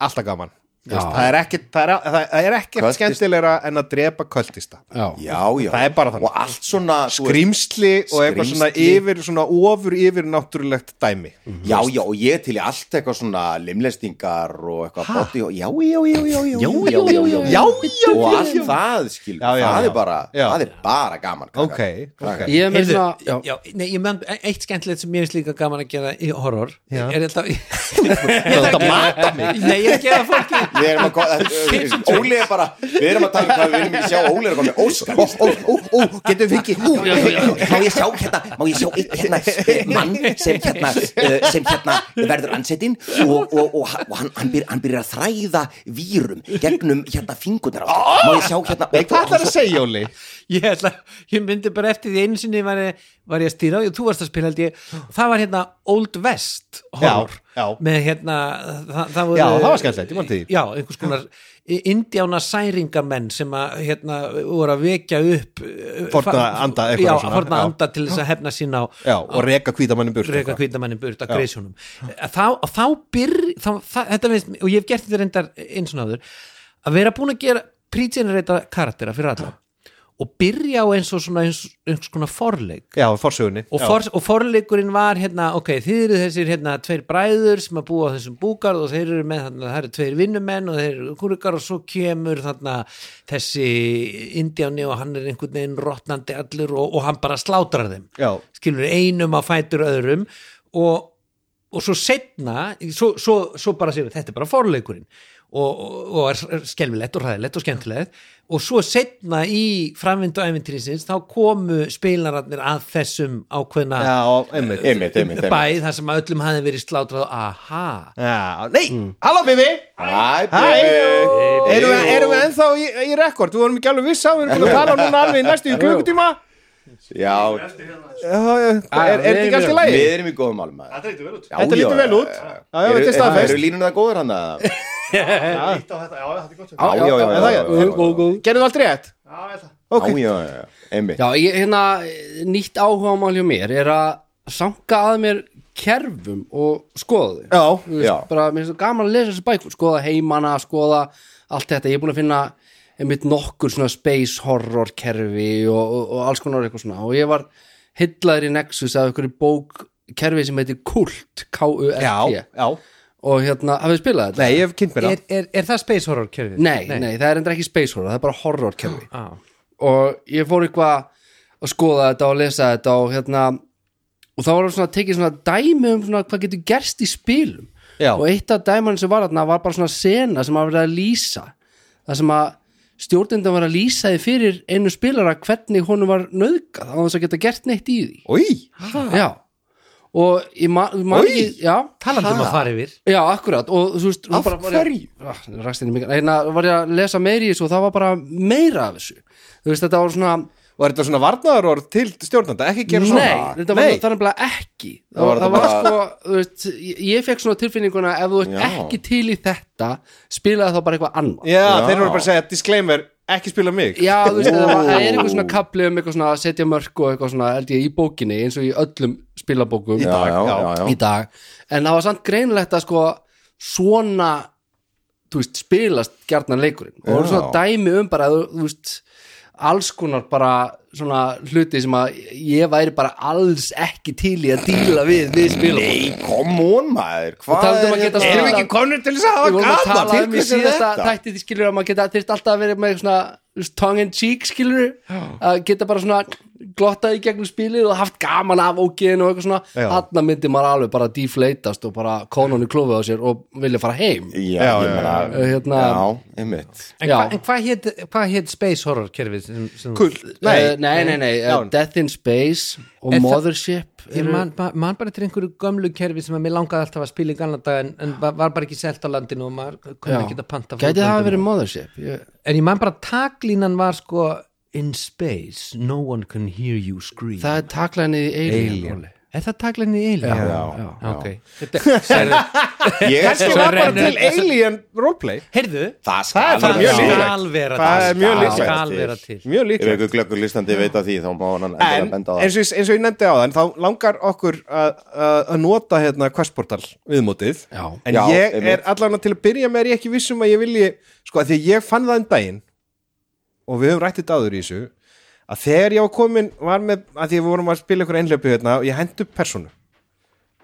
S2: alltaf gaman Þú veist, það er ekkert það er, það er ekkert
S3: Kultist-
S2: skemmtilegra en að drepa kultista
S4: já,
S3: já, já,
S2: Það er bara þannig.
S3: og allt svona þú veist,
S2: skrýmsli og eitthvað svona
S3: Skrýmsli.
S2: yfir svona ofur yfir náttúrulegt dæmi
S3: já, já, og ég til í allt eitthvað svona limlestingar og eitthvað body, og, já, já, já, já, já, já, já, já, já, já,
S2: já,
S3: og allt það skil,
S2: Já, já,
S3: það
S2: já.
S3: er bara
S2: Já.
S3: það er bara gaman krakkar.
S2: ok, ok
S4: ég er með
S1: Heyrðu,
S4: svona já,
S1: já, nei, ég meðan eitt skemmtilegt sem mér finnst líka gaman að gera í horror
S2: Já.
S1: er þetta að mata mig nei, ég er að gera fólki
S3: Við erum að ko- þetta- Óli er bara Við erum að tala um hvað við viljum ekki sjá Óli er að koma með Óskar Ó, ó, ó, ó, getum við ekki Ú, Má ég sjá hérna Má ég sjá einn hérna eh, mann sem hérna eh, sem hérna verður ansettinn og, og, og, ha- og hann, hann, byr, hann byrjar að þræða vírum gegnum hérna fingurnar á honum. Má ég sjá hérna
S2: Nei, hvað ætlar að segja, Óli?
S1: ég, ætla, ég myndi bara eftir því einu sinni var ég, var ég að stýra og þú varst að spila held ég það var hérna Old West horror
S2: Já, já.
S1: með hérna það, það voru,
S2: Já, það var skemmtilegt, ég man eftir því.
S1: já, einhvers konar indjána særingamenn sem að hérna voru að vekja upp eh,
S2: Forna
S1: fa-
S2: anda, eitthvað
S1: já,
S2: svona,
S1: forna
S2: já.
S1: anda til þess að hefna sín á
S2: Já, og reka kvítamannin burt
S1: reyka
S2: eitthvað.
S1: kvítamannin burt að greisjónum þá, og þá byr þá, það, þetta veist, og ég hef gert þetta reyndar eins og náður að vera búin að gera prítsjenereita karaktera fyrir alla og byrja á eins og svona eins, eins konar forleik
S2: Já, forsögunni
S1: og,
S2: Já.
S1: for, og forleikurinn var hérna, ok, þið eru þessir hérna tveir bræður sem að búa á þessum búgarð og þeir eru með þarna, það eru tveir vinnumenn og þeir eru kúrikar og svo kemur þarna þessi indjáni og hann er einhvern veginn rotnandi allur og, og hann bara slátrar þeim
S2: Já.
S1: skilur einum að fætur öðrum og, og svo setna svo, svo, svo bara séum við, þetta er bara forleikurinn og, og, og er- er skelfilegt og ræðilegt og skemmtilegt og svo setna í framvindu æfintýrinsins þá komu spilararnir að þessum ákveðna
S2: Já, og einmitt
S3: Einmitt, einmitt, einmitt
S1: bæ þar sem að öllum hafði verið slátrað aha,
S2: Já, nei,
S4: Mm.
S2: halló Bibi
S3: Hæ,
S2: Hæ,
S3: baby
S2: erum við, erum við ennþá í, í rekord? Þú vorum ekki alveg viss á, við erum búin að tala núna alveg í næstu í klukkutíma
S3: Já,
S2: Já, já, Er er þetta ekki allt í
S3: við
S2: lagi?
S3: erum í góðum alma
S5: Þetta lítur vel út
S2: Þetta lítur vel út. Já, já, þetta er staðfest.
S3: Eru línuna góður hann að
S5: Eitt á þetta, já, þetta er gott
S3: Já, já, já, já, já, já, já, já, já.
S2: Gerðu það aldrei rétt?
S5: Já, ég ætla
S2: Ok.
S3: Já, já, já, já, einmitt
S4: já ég, hérna, nýtt áhuga mál hjá mér er að sanga að mér kerfum og skoða þau
S2: Já,
S4: Þú veist,
S3: Já.
S4: bara mér er svo gaman að lesa þessi bækur skoða heimana, skoða allt þetta ég er búin að finna einmitt nokkur svona space horror kerfi og, og, og alls konar eitthvað svona og ég var hillaður í Nexus af einhverju bók kerfi sem heitir Kult
S2: já,
S4: K-U-L-T
S2: já
S4: og hérna, hafið þið spilað þetta?
S2: Nei, ég hef kynnt mér
S1: er,
S2: það
S1: er, er það space horror kjörfið?
S4: Nei, nei, það er endur ekki space horror, það er bara horror kerfi
S1: Ah.
S4: og ég fór eitthvað að skoða þetta og lesa þetta og hérna og þá var svona tekið svona dæmi um svona hvað getur gerst í spilum
S2: Já.
S4: og eitt af dæmanum sem var þarna var bara svona sena sem að vera að lýsa það sem að stjórnendan var að lýsa því fyrir einu spilara hvernig honum var nöðgað á þess að geta gert neitt í því
S2: Új,
S4: Já og ég ma- man ekki já,
S1: talandum að fara yfir
S4: Já, akkurat og þú veist Af hverju? Rastinni mikil, hérna var ég að lesa meiri í þessu og það var bara meira af þessu Þú veist, þetta var svona
S2: var þetta svona varnaðarorð til stjórnanda? Ekki gera svona
S4: Nei, þetta var
S2: Nei.
S4: það nefnilega ekki Það
S3: Það var
S4: var, það
S3: þetta
S4: var
S3: bara-
S4: sko, þú veist, ég, ég fekk svona tilfinninguna ef þú ert
S3: Já.
S4: ekki til í þetta spilaði þá bara eitthvað annað
S2: Já, þeir voru bara að segja disclaimer, ekki spila mig
S4: Já, þú veist, það, var, það er eitthvað svona kapli um eitthvað svona að setja mörk og eitthvað svona held ég í bókinni eins og í öllum spilabókum
S3: Í dag, já, já, já.
S4: í dag en það var samt greinlegt að sko svona þú veist, spilast gjarnan leikurinn og það voru
S3: Já.
S4: svona dæmi um bara þú, þú veist, alls konar bara svona hluti sem að ég væri bara alls ekki til í að díla við við spilabókum
S3: Nei, come on maður
S4: Og
S3: Hvað
S4: talandi um að geta
S3: hérna-
S4: spilað-
S3: Erum við ekki konur til þess að hafa
S4: við vorum að
S3: gaman?
S4: tala
S3: Til
S4: um í
S3: hvers er
S4: síðasta
S3: þetta?
S4: tætti því skilur að maður geta þyrst alltaf að vera með svona þú veist, tongue in cheek skilur að geta bara svona glottað í gegnum spilið og haft gaman af ógeðinu og eitthvað svona
S2: Já.
S4: þarna myndi maður alveg bara deflatast og bara konunni klófið á sér og vilja fara heim
S3: já, ég meina
S4: Eh, hérna,
S3: já, einmitt
S1: En,
S4: Já.
S1: hva, en hvað hét, hvað hét space horror kerfið? Sem, sem,
S2: Kult,
S4: nei, nei, nei, nei,
S2: Já.
S4: eh, Death in Space og
S1: Er það-
S4: Mothership
S1: Ég man, ma- man bara til einhverju gömlu kerfi sem að mér langaði alltaf að spila í gamla dag en, en var, var bara ekki selt á landinu og maður kunni ekki að panta
S4: gæti
S1: fótboltann.
S4: það hafa verið Mothership ég,
S1: En ég man bara taklínan var sko In space, no one can hear you scream
S4: það er taklaðinni í Alien, Alien.
S1: Er það taklínan í eilig? Já,
S3: já,
S1: okay. Þetta- Sérðu-
S3: ég er
S2: Kannski
S3: svo
S2: var bara til alien roleplay
S1: Heyrðu,
S3: það skal
S2: bara mjög
S3: vera.
S2: líklegt.
S1: skal vera
S2: Það er mjög
S1: til
S2: líklegt.
S1: Skal vera til
S2: Mjög
S3: ef
S2: líklegt
S3: einhver glöggur listandi veit að því þá má hann endilega
S2: En
S3: benda á
S2: eins
S3: það
S2: og, eins og ég nefndi á þann þá langar okkur að- að að nota hérna questportal viðmótið
S4: Já.
S2: en
S3: Já,
S2: ég
S3: einmitt.
S2: er allan að til að byrja með er ég ekki vissum að ég vilji sko að því að ég fann það um daginn og við höfum rættið áður í þessu að þegar ég var komin var með að því að við vorum að spila ykkur einhlaupi hérna og ég hendu personu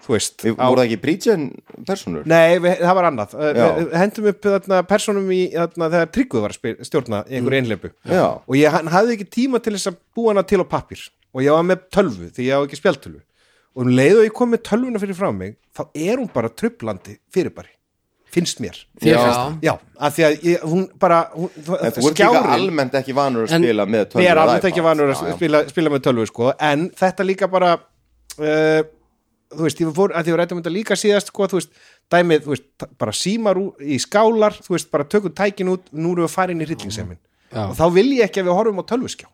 S2: þú veist
S3: Við-
S2: á-
S3: voru það ekki prítsjön personur
S2: Nei, við, það var annað Uh,
S3: Já.
S2: Við hendum upp þarna, personum í þarna, þegar Tryggvið var að spil, stjórna í einhverju einleipu
S3: Mm. Já.
S2: og ég hann hafði ekki tíma til þess að búa hana til á pappir og ég var með tölvu því ég á ekki spjaltölvu og um leið og ég kom með tölvuna fyrir frá mig þá er hún bara trublandi fyrirbæri finnst mér
S4: Þér
S1: Já.
S4: finnst það?
S2: Já, af því að ég, hún bara hún,
S3: en þú ert líka almennt ekki vanur að
S4: En-
S3: spila með tölvur
S2: Ég er
S3: og
S2: alveg ekki
S3: iPad.
S2: vanur
S3: Já,
S2: að
S3: já.
S2: spila, spila með tölvu sko, en þetta líka bara uh, þú veist, ég fór að því að rættum þetta líka síðast sko, þú veist, dæmið, þú veist, t- bara símar ú- í skálar, þú veist, bara tökum tækin út, nú erum við farin í hryllingseimin
S4: Já.
S2: og þá vil ég ekki að við horfum á tölvuskjá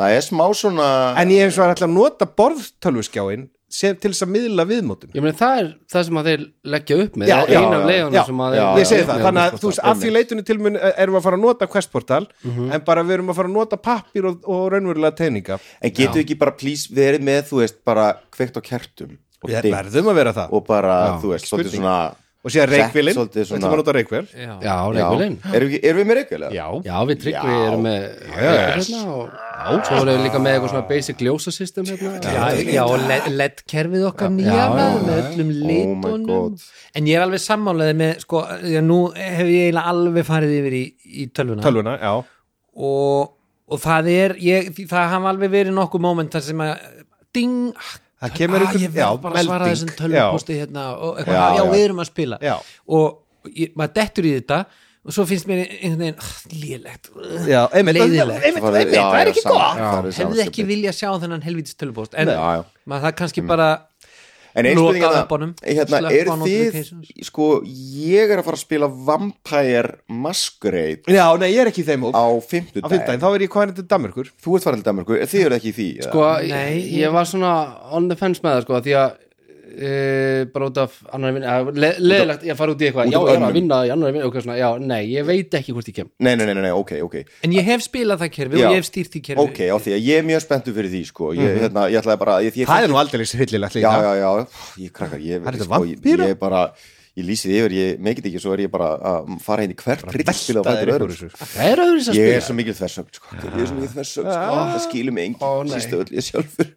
S3: það er smá svona
S2: en ég eins og ætla að nota borð tölvuskjáin sem, til þess að miðla viðmótinu
S4: Ég meina það er það sem að þeir leggja upp með
S2: Já,
S4: Það
S2: já,
S4: er eina af
S3: já,
S4: leiðunum
S2: já,
S4: sem að
S3: já,
S4: þeir
S2: ég segi það,
S4: Já,
S2: þannig að þú veist, af því leitunni til mun eh, erum við að fara að nota questportal
S4: Mhm.
S2: en bara við erum að fara að nota pappir og, og raunverulega teininga
S3: en getur ekki bara please verið með þú veist bara kveikt á kertum og
S2: við
S3: dimmt
S2: verðum að vera það
S3: og bara þú veist
S2: spurning.
S3: svolítið svona
S2: og síðan
S3: Sett
S2: reikvilinn,
S3: svolítið
S2: þetta
S3: svona-
S2: var nota reikvil
S1: Já.
S4: Já,
S3: Já.
S4: reikvölinn
S3: erum við, erum við með reikvil? eða?
S2: Já,
S4: Já, við tryggum við
S3: Já.
S4: erum með yes. hérna og svo erum við líka með eitthvað svona basic ljósasystem hérna.
S1: Já, já, og ledd kerfið okkar nýja með, með öllum litunum
S3: God.
S1: en ég er alveg sammálaði með sko, já, nú hef ég eiginlega alveg farið yfir í, í tölvuna
S2: tölvuna, já
S1: og, og það er ég, því það hafa alveg verið nokkuð moment þar sem að ding, ah,
S2: Það kemur
S1: ah,
S2: ykkur-
S1: ég
S2: já,
S1: verð bara að svara
S2: melding,
S1: þessum tölvuposti hérna og eitthvað,
S3: Já,
S1: já,
S3: já.
S1: við erum að spila
S2: Já.
S1: og ég, maður dettur í þetta og svo finnst mér einhvern veginn ah, lélegt,
S2: já, einmitt,
S1: leiðilegt
S2: einmitt,
S3: var-
S2: einmitt,
S3: já,
S2: það er
S3: já,
S2: ekki
S3: sama-
S2: gott
S3: það er sama
S1: hefði ekki
S3: skipið.
S1: vilja sjá þennan helvítis tölvupost en
S3: Nei, já, já.
S1: maður það kannski bara
S3: En einn
S1: Loka
S3: spurning er
S1: upp honum,
S3: það, hérna,
S1: slökkva
S3: er
S1: á
S3: þið,
S1: notifications.
S3: sko, ég er að fara að spila Vampire Masquerade
S1: sko.
S2: já, nei, ég er ekki í þeim hóp
S3: á
S2: á
S3: fimmtudaginn.
S2: fyrndaginn, þá er ég hvaðan til Danmörkur
S3: Þú ert farin til Danmarku, þið eru ekki í því, eða?
S4: Sko,
S1: Nei,
S4: ég, ég var svona on the fence með það sko því að e, bara út af annar vinna le, leðilegt, ég fara út í eitthvað,
S3: Út
S4: já,
S3: af
S4: ég er
S3: önnum.
S4: að vinna í annar vinna og eitthvað svona, já, nei, ég veit ekki hvort ég kem
S3: Nei, nei, nei, nei, nei, ok, ok.
S1: en ég hef spilað það kerfi
S3: Já.
S1: og ég hef stýrt því kerfi
S3: Ok, á því að ég er mjög spenntu fyrir því, sko. Ég, hérna, ég ætlaði bara, ég, ég,
S2: það er nú aldrei hryllilegt
S3: já,
S2: líka
S3: já, já, ég krakkar, ég,
S2: Hvað er þetta,
S3: sko, ég,
S2: vampíra?
S3: ég er bara, ég lýsi því yfir, ég meikið ekki, svo er ég bara að fara inn í hvert hryllspil á
S2: það er
S3: fætur
S2: ykkur
S3: öðrum.
S2: þessu
S4: Það er öðru sem
S3: Ég er
S4: spila
S3: svo mikil þversögn, sko. Ég er svo mikil þversögn, sko. Það skilum engin,
S4: Ó, nei.
S3: síst öll, ég sjálfur.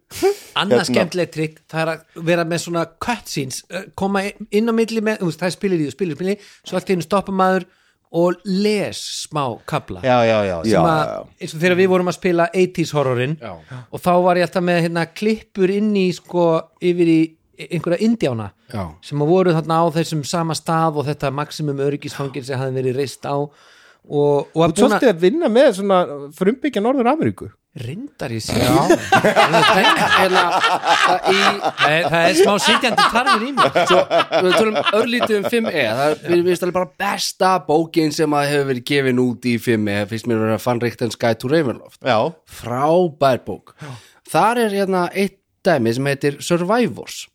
S1: annað
S3: Hérna.
S1: skemmtilegt trikk það er að vera með svona cutscenes eh, koma inn á milli með þú veist, það er spilir í og spilir, spilir svo allt í einu stoppa maður og les smá kabla
S2: já, já, já,
S3: Já,
S1: sem að,
S3: já, já.
S1: eins og þegar við vorum að spila 80s horrorin
S4: Já.
S1: og þá var ég alltaf með hérna, klippur inn í sko yfir í einhverja indjána
S4: Já.
S1: sem að voru þarna á þessum sama stað og þetta maximum öryggisfangir sem hafði verið reist á og, og
S2: þú
S1: að
S2: ert svolítið að vinna með svona frumbyggja Norður Ameríku
S1: reyndar ég sér Hérna, það, er- það er smá sitjandi tarfur í mér
S4: svo við tölum örlítið um 5E það er, við veist alveg bara besta bókin sem að hefur verið gefin út í 5E fyrst mér verið að fann reyktan Sky to Ravenloft
S2: já,
S4: frábær bók þar er hérna eitt dæmi sem heitir Survivors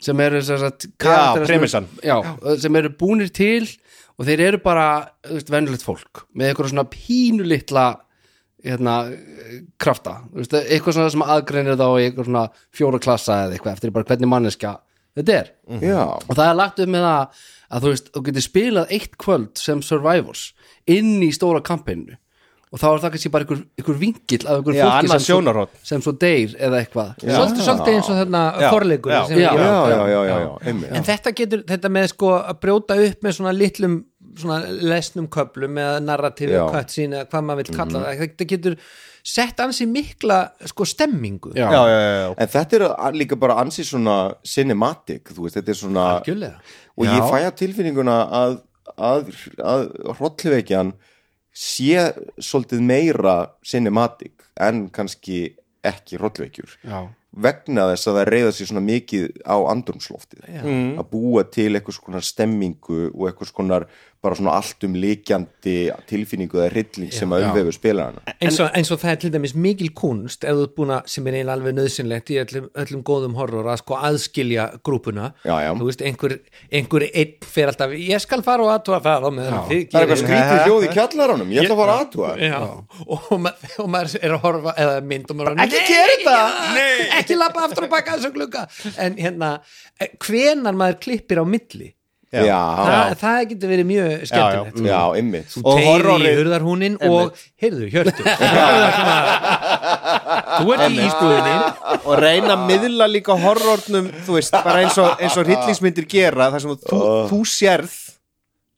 S4: sem eru sem sagt, karakterar sem-
S2: premissan.
S4: já, sem eru búnir til og þeir eru bara þú veist, venjulegt fólk með eitthvað svona pínulitla hérna, eh, krafta þú veist, eitthvað svona sem aðgreinir þá í eitthvað svona fjóra klassa eða eitthvað eftir bara hvernig manneskja þetta er
S3: Já.
S4: og það er lagt upp með það að þú veist, þú getur spilað eitt kvöld sem Survivors inn í stóra kampinu og þá er það kannski bara einhver, einhver vingill af einhver
S2: Já,
S4: fólki
S2: annað
S4: sem svo,
S2: sjónarhorn.
S4: sem svo deyr eða eitthvað
S1: svolítið svolítið eins og þarna
S2: Já.
S1: forleikur
S2: Já.
S1: sem ég-
S4: Já.
S3: Já, já, já, já, já, einmitt.
S1: en þetta getur, þetta með sko að brjóta upp með svona litlum svona lesnum köplum eða narratífi,
S3: Já.
S1: cutscene eða hvað maður vill kalla það, þetta getur sett ansi mikla sko stemmingu
S4: Já.
S2: já, já, já.
S3: En þetta er að- líka bara ansið svona cinematic, þú veist, þetta er svona
S1: Gjörlega.
S3: og ég fæ að tilfinninguna að, að, að hrollveikjan sé svolítið meira cinematic en kannski ekki hrollveikjur
S4: já,
S3: vegna þess að það reyða sér svona mikið á andrumsloftið mm. að búa til eitthvað svona stemmingu og eitthvað svona bara svona alltum líkjandi tilfinningu eða hrylling sem að um umvefur spilarana
S1: eins og, eins og það er til dæmis mikil kunst ef þú ert búin að, sem er eiginlega alveg nöðsynlegt í öllum, öllum góðum horror að sko aðskilja grúpuna
S3: Já, já.
S1: þú veist, einhver, einhver einn fer alltaf, ég skal fara og aðtúa það og meðan
S3: það
S1: þið
S3: er
S1: gerið-
S3: eitthvað skrítið hljóð í kjallaranum ég ætla að fara að aðtúa
S1: Já, og, ma og maður er að horfa eða mynd og maður er að,
S3: Ekki gera
S1: ekki
S3: þetta!
S1: gera það, ekki lappa aftur og baka þessu glugga en hérna, eh, hvenar maður klippir á milli
S3: já,
S1: það,
S3: já,
S1: það getur verið mjög
S2: sko.
S1: skemmtilegt
S3: já, ymmið
S1: þú
S2: Og
S1: tegir í
S2: horrorið-
S1: hurðarhúnin og heyrðu, hjörtu þú ert í ísbúðinni
S2: og reyna að miðla líka horrornum þú veist, bara eins og, eins og hryllingsmyndir gera þar sem þú, þú sérð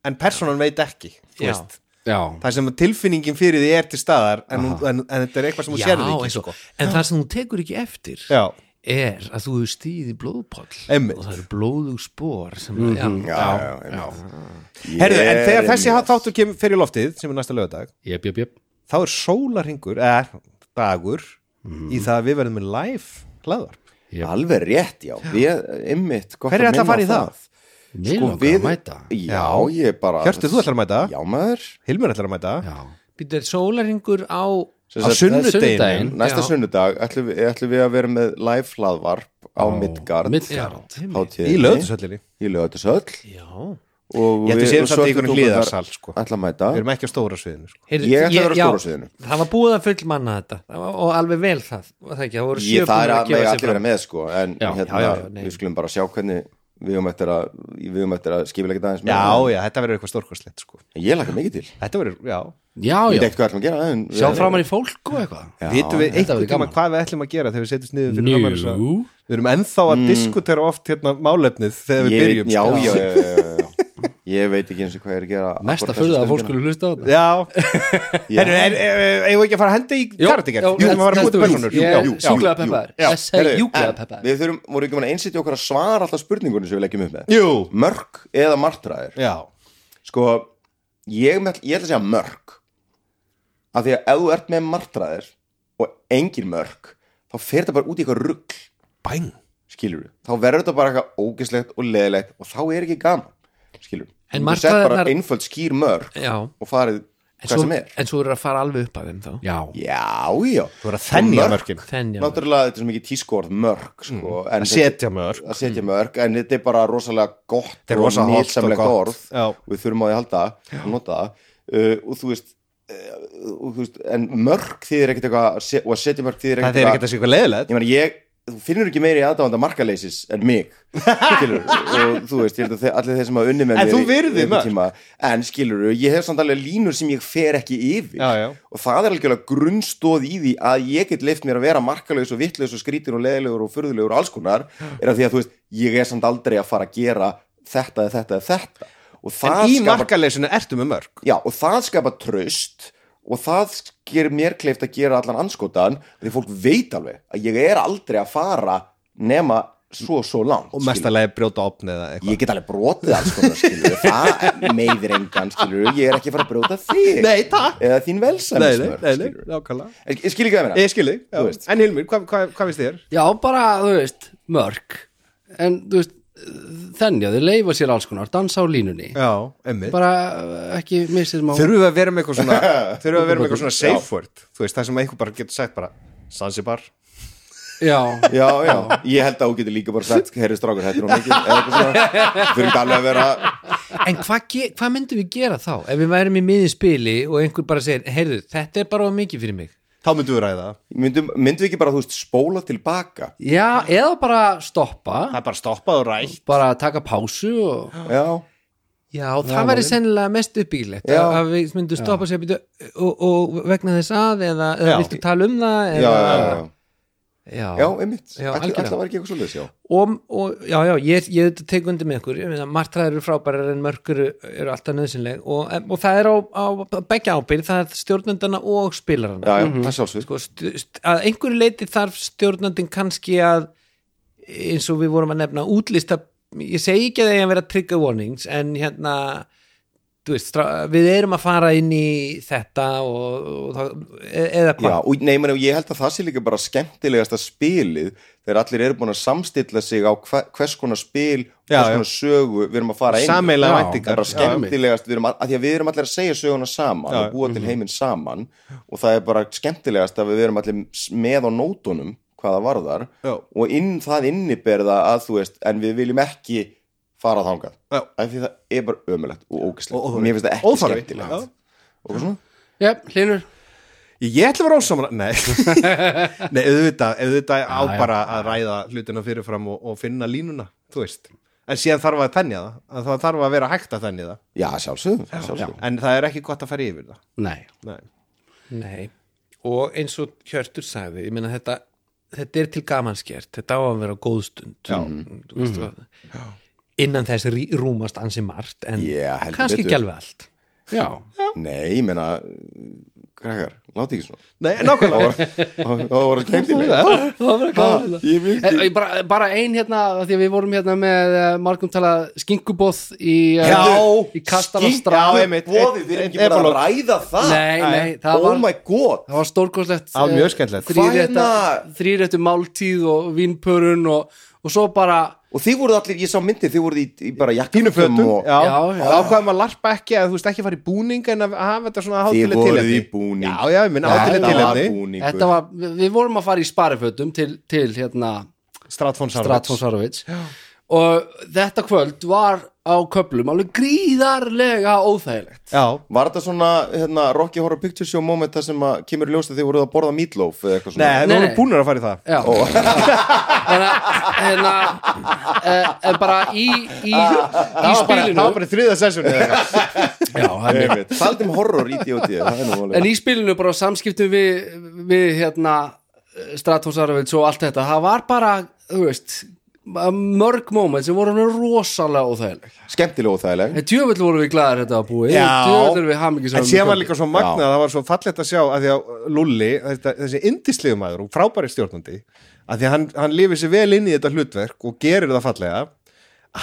S2: en personan veit ekki þú
S1: Já.
S2: veist.
S4: já,
S2: þar sem tilfinningin fyrir því er til staðar en, hún, en, en þetta er eitthvað sem þú sérð ekki sko.
S1: eins og- en það sem þú tekur ekki eftir
S2: já,
S1: er að þú hefur stíð í blóðpoll
S2: Einmitt.
S1: og það eru blóðug spór sem, mm -hmm.
S3: já, já, einmitt
S2: Herðu, en
S3: Ég
S2: þegar
S3: er
S2: þessi
S3: einmitt.
S2: þáttur kemur fyrir loftið sem er næsta lögadag
S4: jöp, jöp, jöp
S2: þá er sólarhingur, eða dagur í það að við verðum með live hlaðvarp
S3: alveg rétt, já, við, ymmið
S2: Hver er þetta að fara í það?
S4: Mér langar að mæta
S3: já, ég bara
S2: Hjörtu, þú ætlar að mæta,
S3: já, maður
S2: Hilmir ætlar að mæta
S4: Já,
S1: býttu er sólaringur á
S3: Sem
S2: á
S3: sagt,
S4: sunnudaginn.
S2: sunnudegin
S3: Næsta
S1: Já.
S3: sunnudag ætlum við, ætlum við að vera með live hlaðvarp á Midgard
S4: Midgard.
S3: hátíðinni,
S2: í lögutusöllinni
S3: í Laugardalshöll.
S1: já
S3: og
S2: Ég ætla að séu samt í
S3: ætlum
S2: einhverjum
S3: við
S2: hliðarsal, sko.
S3: ætla að mæta
S2: við erum ekki á stóra sviðinu sko.
S1: Heyrðu,
S3: Ég ætla að vera á
S1: já,
S3: stóra sviðinu.
S1: Það var búið að fullmanna þetta Það var- og alveg vel það, var það, ekki, það voru sjö
S3: ég, það er
S1: búnir
S3: að
S1: gefa
S3: mega
S1: sig
S3: allir
S1: fram.
S3: vera með sko en
S4: Já,
S3: hérna,
S1: já, já, nei.
S3: við skulum bara sjá hvernig við um eftir að, við um eftir að skipilegja dagins
S2: já, já, þetta verður eitthvað stórkostlegt sko.
S3: ég laka mikið til,
S2: þetta verður, já,
S4: já,
S3: ég
S4: já.
S3: veit ekkert hvað ætlum að gera en,
S4: sjá framar í fólk og eitthvað
S2: vitum við
S4: þetta
S2: einhvern
S4: verður
S2: tíma
S4: gaman.
S2: hvað við ætlum að gera þegar við setjum niður fyrir
S4: Nú.
S2: framan þessa- við erum ennþá að diskutera oft hérna málefnið þegar við
S3: ég veit,
S2: byrjum
S3: já,
S2: sko.
S3: já, já, já, já, já. ég veit ekki eins og hvað ég er að gera
S4: Mesta
S3: akkúrat
S4: fyrir
S3: þessa
S4: að fólk
S3: stundina.
S4: skulle hlusta á þetta
S2: Já, herru, er- er- er- eigum við ekki að fara að henda í karatikert? Jú, við erum að fara að búið personur Jú,
S4: Ég
S2: jú,
S4: er sjúklega peppaður
S3: Já,
S4: Ég segi
S3: heyrðu,
S4: júklega
S3: en
S4: peppaður
S3: Við þurfum, voru ekki mann að einsetja okkar að svara alltaf spurningunum sem við leggjum upp með
S2: Jú,
S3: Mörk eða martræðir
S2: já,
S3: Sko, ég, með, ég ætla að segja mörk Af því að ef þú ert með martræðir og engin mörk þá fer þetta bara út í eitthvað rugg
S2: bæn
S3: skilur við, þá verður þetta bara eitthvað ógislegt og leðilegt og þá er ekki gaman skilur við,
S1: En
S3: þú sett bara
S1: martraðirnar-
S3: einföld skýr mörk
S1: Já,
S3: og farið
S1: en
S3: hvað
S1: svo,
S3: sem er
S1: en svo eru að fara alveg upp að þeim þá
S4: Já,
S3: Já, já,
S2: Þú verður að þennja mörkin
S1: Þenja
S3: náttúrulega þetta er svo mikið tískorð mörk sko, en
S2: Mm. Að
S3: þetta-
S2: setja mörk
S3: að setja mörg en þetta er bara rosalega gott
S2: Þetta er rosa hollt og
S3: nytsamlegt
S2: gott.
S3: orð
S2: Já.
S3: og við þurfum á því að halda og nota það uh, og þú veist uh, og, þú veist, en mörg þýðir ekkert eitthvað að se- og að setja mörg þýðir
S2: Það
S3: ekkert
S2: er ekkert að sé eitthvað leðilegt
S3: ég meina ég þú finnur ekki meiri aðdáðanda markaleysis en mig skilur, og þú veist, ég held að þe- allir þeir sem hafa unni með
S2: En
S3: mér
S2: þú
S3: í-
S2: virðir
S3: í einhvern
S2: mörk.
S3: tíma, en skilur, ég hef samt alveg línur sem ég fer ekki yfir
S2: Já, já.
S3: og það er algjörlega grunnstóð í því að ég get leift mér að vera markalaus og vittlaus og skrítin og leðilegur og furðulegur og alls konar er að því að þú veist, ég er samt aldrei að fara að gera þetta eða þetta eða þetta og það
S2: En í
S3: skapar
S2: markaleysinu ertu með mörk
S3: Já, og það skapa tröst og það ger mér kleift að gera allan anskotan því fólk veit alveg að ég er aldrei að fara nema svo svo langt
S2: Og
S3: skilur.
S2: mestalegi brjóta opni eða eitthvað
S3: ég get alveg brotið alls konar skilur það meiðir engan skilur ég er ekki að fara að brjóta þig
S2: Nei, takk
S3: eða
S2: Nei,
S3: þín
S2: nei,
S3: velsæmismörk
S2: nei, nei,
S3: skilur
S2: nákvæmlega
S3: ég skil ekki að
S2: Ég
S3: mér
S2: skil þig,
S3: Þú
S2: já.
S3: veist.
S2: en Hilmir, hvað hva, hva finnst þér?
S4: já, bara, þú veist, mörg En, þú veist, þenja, þau leifa sér alls konar Dansa á línunni
S2: Já, emmi
S4: Bara eh, ekki missið má
S2: Þurfum við að vera með eitthvað svona Þurfum við að vera með eitthvað svona safe word Þú veist, það sem eitthvað bara getur sagt bara Sansibar
S4: Já,
S3: Já, já, ég held að þú getur líka bara sagt herri strákur, þetta er hún ekki eða eitthvað svona, þurfum ekki alveg að vera
S1: En hvað ge- hvað myndum við gera þá ef við værum í miðin spili og einhver bara segir heyrðu, þetta er bara of mikið fyrir mig
S2: Þá myndum við ræða það.
S3: myndum, myndum við ekki bara, þú veist, spóla tilbaka
S4: já eða bara stoppa
S2: Það er bara stoppað og rætt
S4: Bara taka pásu og
S3: Já,
S1: Já, það væri sennilega mest uppbyggilegt
S3: Já.
S1: að að við myndum stoppa sér og, og, og vegna þess að eða, eða
S2: Já.
S1: viltu tala um það
S3: já,
S1: eða,
S3: já, já, já. já, einmitt,
S1: Já,
S3: alltaf
S1: algjörlega.
S3: var ekki eitthvað svoleiðis, já
S1: og, og já, já, ég, ég tek undir með ykkur, ég meina, martraðir eru frábærar en mörg eru, eru alltaf nöðsynleg og, og það er á, á begja ábyrð það er stjórnundana og spilarana
S3: já, já, það er sjálfsög
S1: sko, stu, st að einhverju leiti þarf stjórnandin kannski að eins og við vorum að nefna útlista ég segi ekki að það er að vera trigger warnings en hérna þú veist, stra- við erum að fara inn í þetta og, og það, e- eða
S3: Já,
S1: hvað
S3: og nei, meni, ég held að það sé líka bara skemmtilegasta spilið þegar allir eru búin að samstilla sig á hva, hvers konar spil
S2: Já,
S3: hvers
S2: já.
S3: konar sögu við erum að fara inn í.
S2: Sameiginlega
S3: Já,
S2: væntingar.
S3: það er
S2: Já,
S3: bara skemmtilegast, við erum, að, að því að við erum allir að segja söguna saman
S2: Já, mhm.
S3: og búa til heiminn saman og það er bara skemmtilegast að við erum allir s- með á nótunum hvaða varðar
S2: Já.
S3: og inn, það inniberða að þú veist en við viljum ekki fara þangað
S2: Já.
S3: af því það er bara ömulegt og
S2: Og
S3: ógæslegt
S2: óþarfi.
S3: mér finnst það ekki
S2: Óþarfi.
S3: skemmtilegt
S2: Já.
S3: og svona
S4: já, hlínur
S2: Ég ég ætla að vera ósamra Nei, Nei auðvitað, auðvitað á
S4: já.
S2: bara að ræða hlutina fyrirfram og, og finna línuna, þú veist En síðan þarf að þennja það, að það þarf að vera hægt að þennja það
S3: já, sjálfsögum, sjálfsögum.
S2: En það er ekki gott að fara yfir það
S4: nei,
S2: Nei.
S1: Nei, og eins og Hjörtur sagði, ég meina þetta þetta er til gamanskert, þetta á að vera góðstund Já. Veist, mm. innan þess rí- rúmast ansi margt, en
S3: Já, heldur
S1: kannski
S3: betur.
S1: ekki alveg allt
S4: já,
S3: Nei, ég meina Krakkar, láti ekki svona
S2: Nei, nákvæmlega
S3: Það voru skemmtilega
S4: það var
S3: Ha, Ég
S4: Eh,
S3: vildi
S4: eh, bara, bara ein hérna, af því að við vorum hérna með uh, margum talað skinkubóð í, uh, í
S2: já,
S4: Kastarastræð
S2: einmitt.
S3: Bóðið, við erum ekki bara að ræða það
S4: nei, nei, það
S3: Oh
S4: var,
S3: my god
S4: það var stórkostlegt
S2: Það var mjög skemmtilegt.
S3: Hvaðina-
S4: þrýrættu máltíð og vínpörun og, og svo bara
S3: Og þið voruð allir, ég sá myndir, þið voruð í, í bara jakkum
S2: Þínu fötum,
S3: og
S2: já,
S4: Já, já.
S2: já. ákvæðum að larpa ekki að þú veist ekki að fara í búning en að hafa þetta svona
S3: Þið
S2: hátileg
S3: voruð
S2: tilefni
S3: í búning.
S2: Já, já, ég minna hátileg
S3: Þetta var
S2: tilefni
S3: búningur
S4: þetta var, við, við vorum að fara í sparifötum til, til hérna
S2: Stratfón
S4: Stratfón Sarovits og þetta kvöld var á köplum alveg gríðarlega óþægilegt
S2: Já,
S3: Var þetta svona hérna, Rocky Horror Picture Show moment þar sem að kemur í ljós að þið voruð að borða meatloaf eða eitthvað
S2: nei,
S3: svona
S2: við
S4: Nei,
S2: vorum
S4: nei.
S2: búnir að fara í það
S4: Já Þannig að hérna, eh, en bara í, í, í
S2: Það var bara-
S4: spilinu
S2: Það var bara í þriða sessjónu
S4: já, einmitt.
S3: Nei, Taldum um horror í D.O.D. það er nú alveg-
S4: En í spilinu bara á samskiptum við, við hérna Stratos Arvids og allt þetta það var bara, þú veist mörg moment sem voru alveg rosalega óþægileg
S3: Skemmtileg og þægileg
S4: En djöfull vorum við glæðir þetta að búi Djöfull erum við hamingi
S2: en síðan var líka svo magnað það var svo fallegt að sjá að því að Lulli þetta, þessi indislegumæður og frábæri stjórnandi að því að hann, hann lifið sér vel inn í þetta hlutverk og gerir það fallega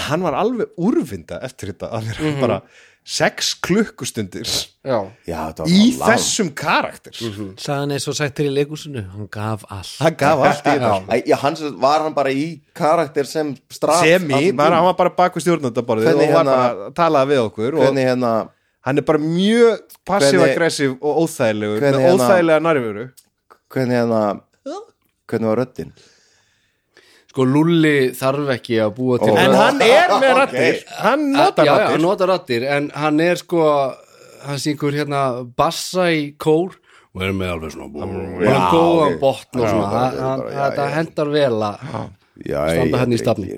S2: hann var alveg úrvinda eftir þetta að vera bara sex klukkustundir
S4: Já,
S3: Já, þetta var
S2: í
S3: bara langt.
S2: þessum karakter
S1: sagðan eins og sættir í leikúsinu, hann gaf allt
S2: hann gaf allt í þetta
S3: Æ, Já, hans var hann bara í karakter sem straf
S2: Semi, var, hann var bara bak við stjórnandaborðið og
S3: Hvernig
S2: var
S3: hérna-
S2: bara að tala við okkur og
S3: Hvernig hérna
S2: hann er bara mjög
S3: Hvernig-
S2: passiv-aggressiv og óþægilegur
S3: Hvernig
S2: með
S3: hérna-
S2: óþægilega nærveru
S3: Hvernig hérna Hvernig var röddin?
S4: sko Lulli þarf ekki að búa til
S3: Ó.
S2: en
S4: rödd.
S2: hann er með
S3: Ok.
S2: rattir hann
S4: já,
S2: notar
S4: já,
S2: rattir
S4: hann notar rattir en hann er sko hann syngur hérna bassa í kór og er með alveg svona og hann
S3: já,
S4: góðan
S3: ok.
S4: botn og svona
S3: Já,
S4: hann-
S3: já,
S4: hann-
S3: bara, já,
S4: þetta
S3: já.
S4: hendar vel að
S3: Já,
S4: Standa hérna í stafni.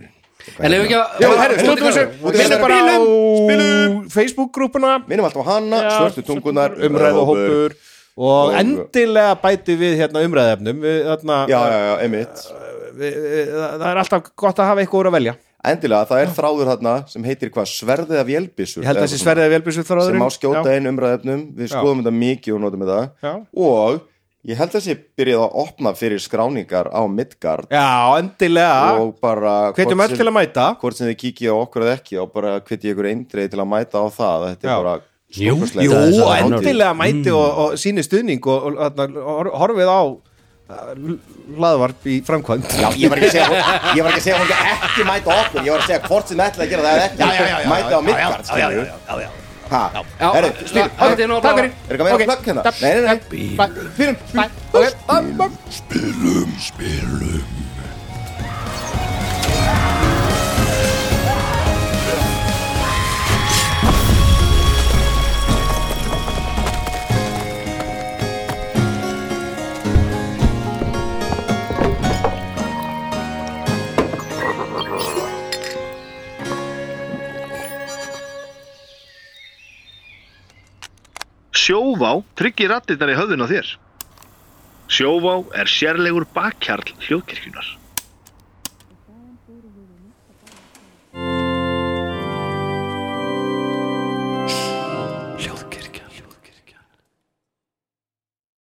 S4: en ef ekki
S2: Já,
S4: að
S2: herru, stundum þessu
S3: út í
S2: Minnum
S3: þessu.
S2: bara á
S3: Spilum.
S2: Facebook-grúpuna
S3: Minnum alltaf á hana, svörtu tungunar
S2: Umræðu hópur Og
S3: Og-
S2: endilega bæti við hérna umræðefnum við, hérna,
S3: Já, já, já, einmitt
S2: við, við, Það er alltaf gott að hafa eitthvað úr að velja Ég
S3: Endilega, það er þráður þarna sem heitir hvað sverðið af vélbissur
S2: held að þessi sverðið velbísu þráðurinn
S3: sem á skjóta inn umræðefnum við
S2: Já.
S3: skoðum þetta mikið og notum þetta
S2: Já.
S3: og ég held að þessi byrjað að opna fyrir skráningar á Midgard
S2: Já, endilega
S3: og bara
S2: Hvetjum
S3: hvort
S2: öll
S3: sem-
S2: til að mæta
S3: hvort sem þið kikið á okkur eða ekki og bara hvetjið ykkur eindreið til að mæta á það þetta er
S2: Já.
S3: bara
S4: Jú,
S3: stórkostlegt.
S2: Jú,
S3: Þetta er Mm.
S2: og
S3: bara hátíð.
S2: endilega mæti og, og síni stuðning og, og hérna, hor- horfið á uh, hlaðvarp í framkvæmt
S3: Já, ég var ekki að segja ég var ekki að segja hún ekki ekki mæta okkur ég var að segja hvort sem ætlaði að gera það eða ekki mæta á Midgard já, já, já, já, já.
S4: Já,
S3: Herru, stýr,
S4: la- þetta er nú bara-
S3: er eitthvað meira plögg hérna? Nei, nei, nei, fyrir
S8: Sjóvá tryggir rattirnar í höfðun á þér Sjóvá er sérlegur bakkjarl hljóðkirkjunar.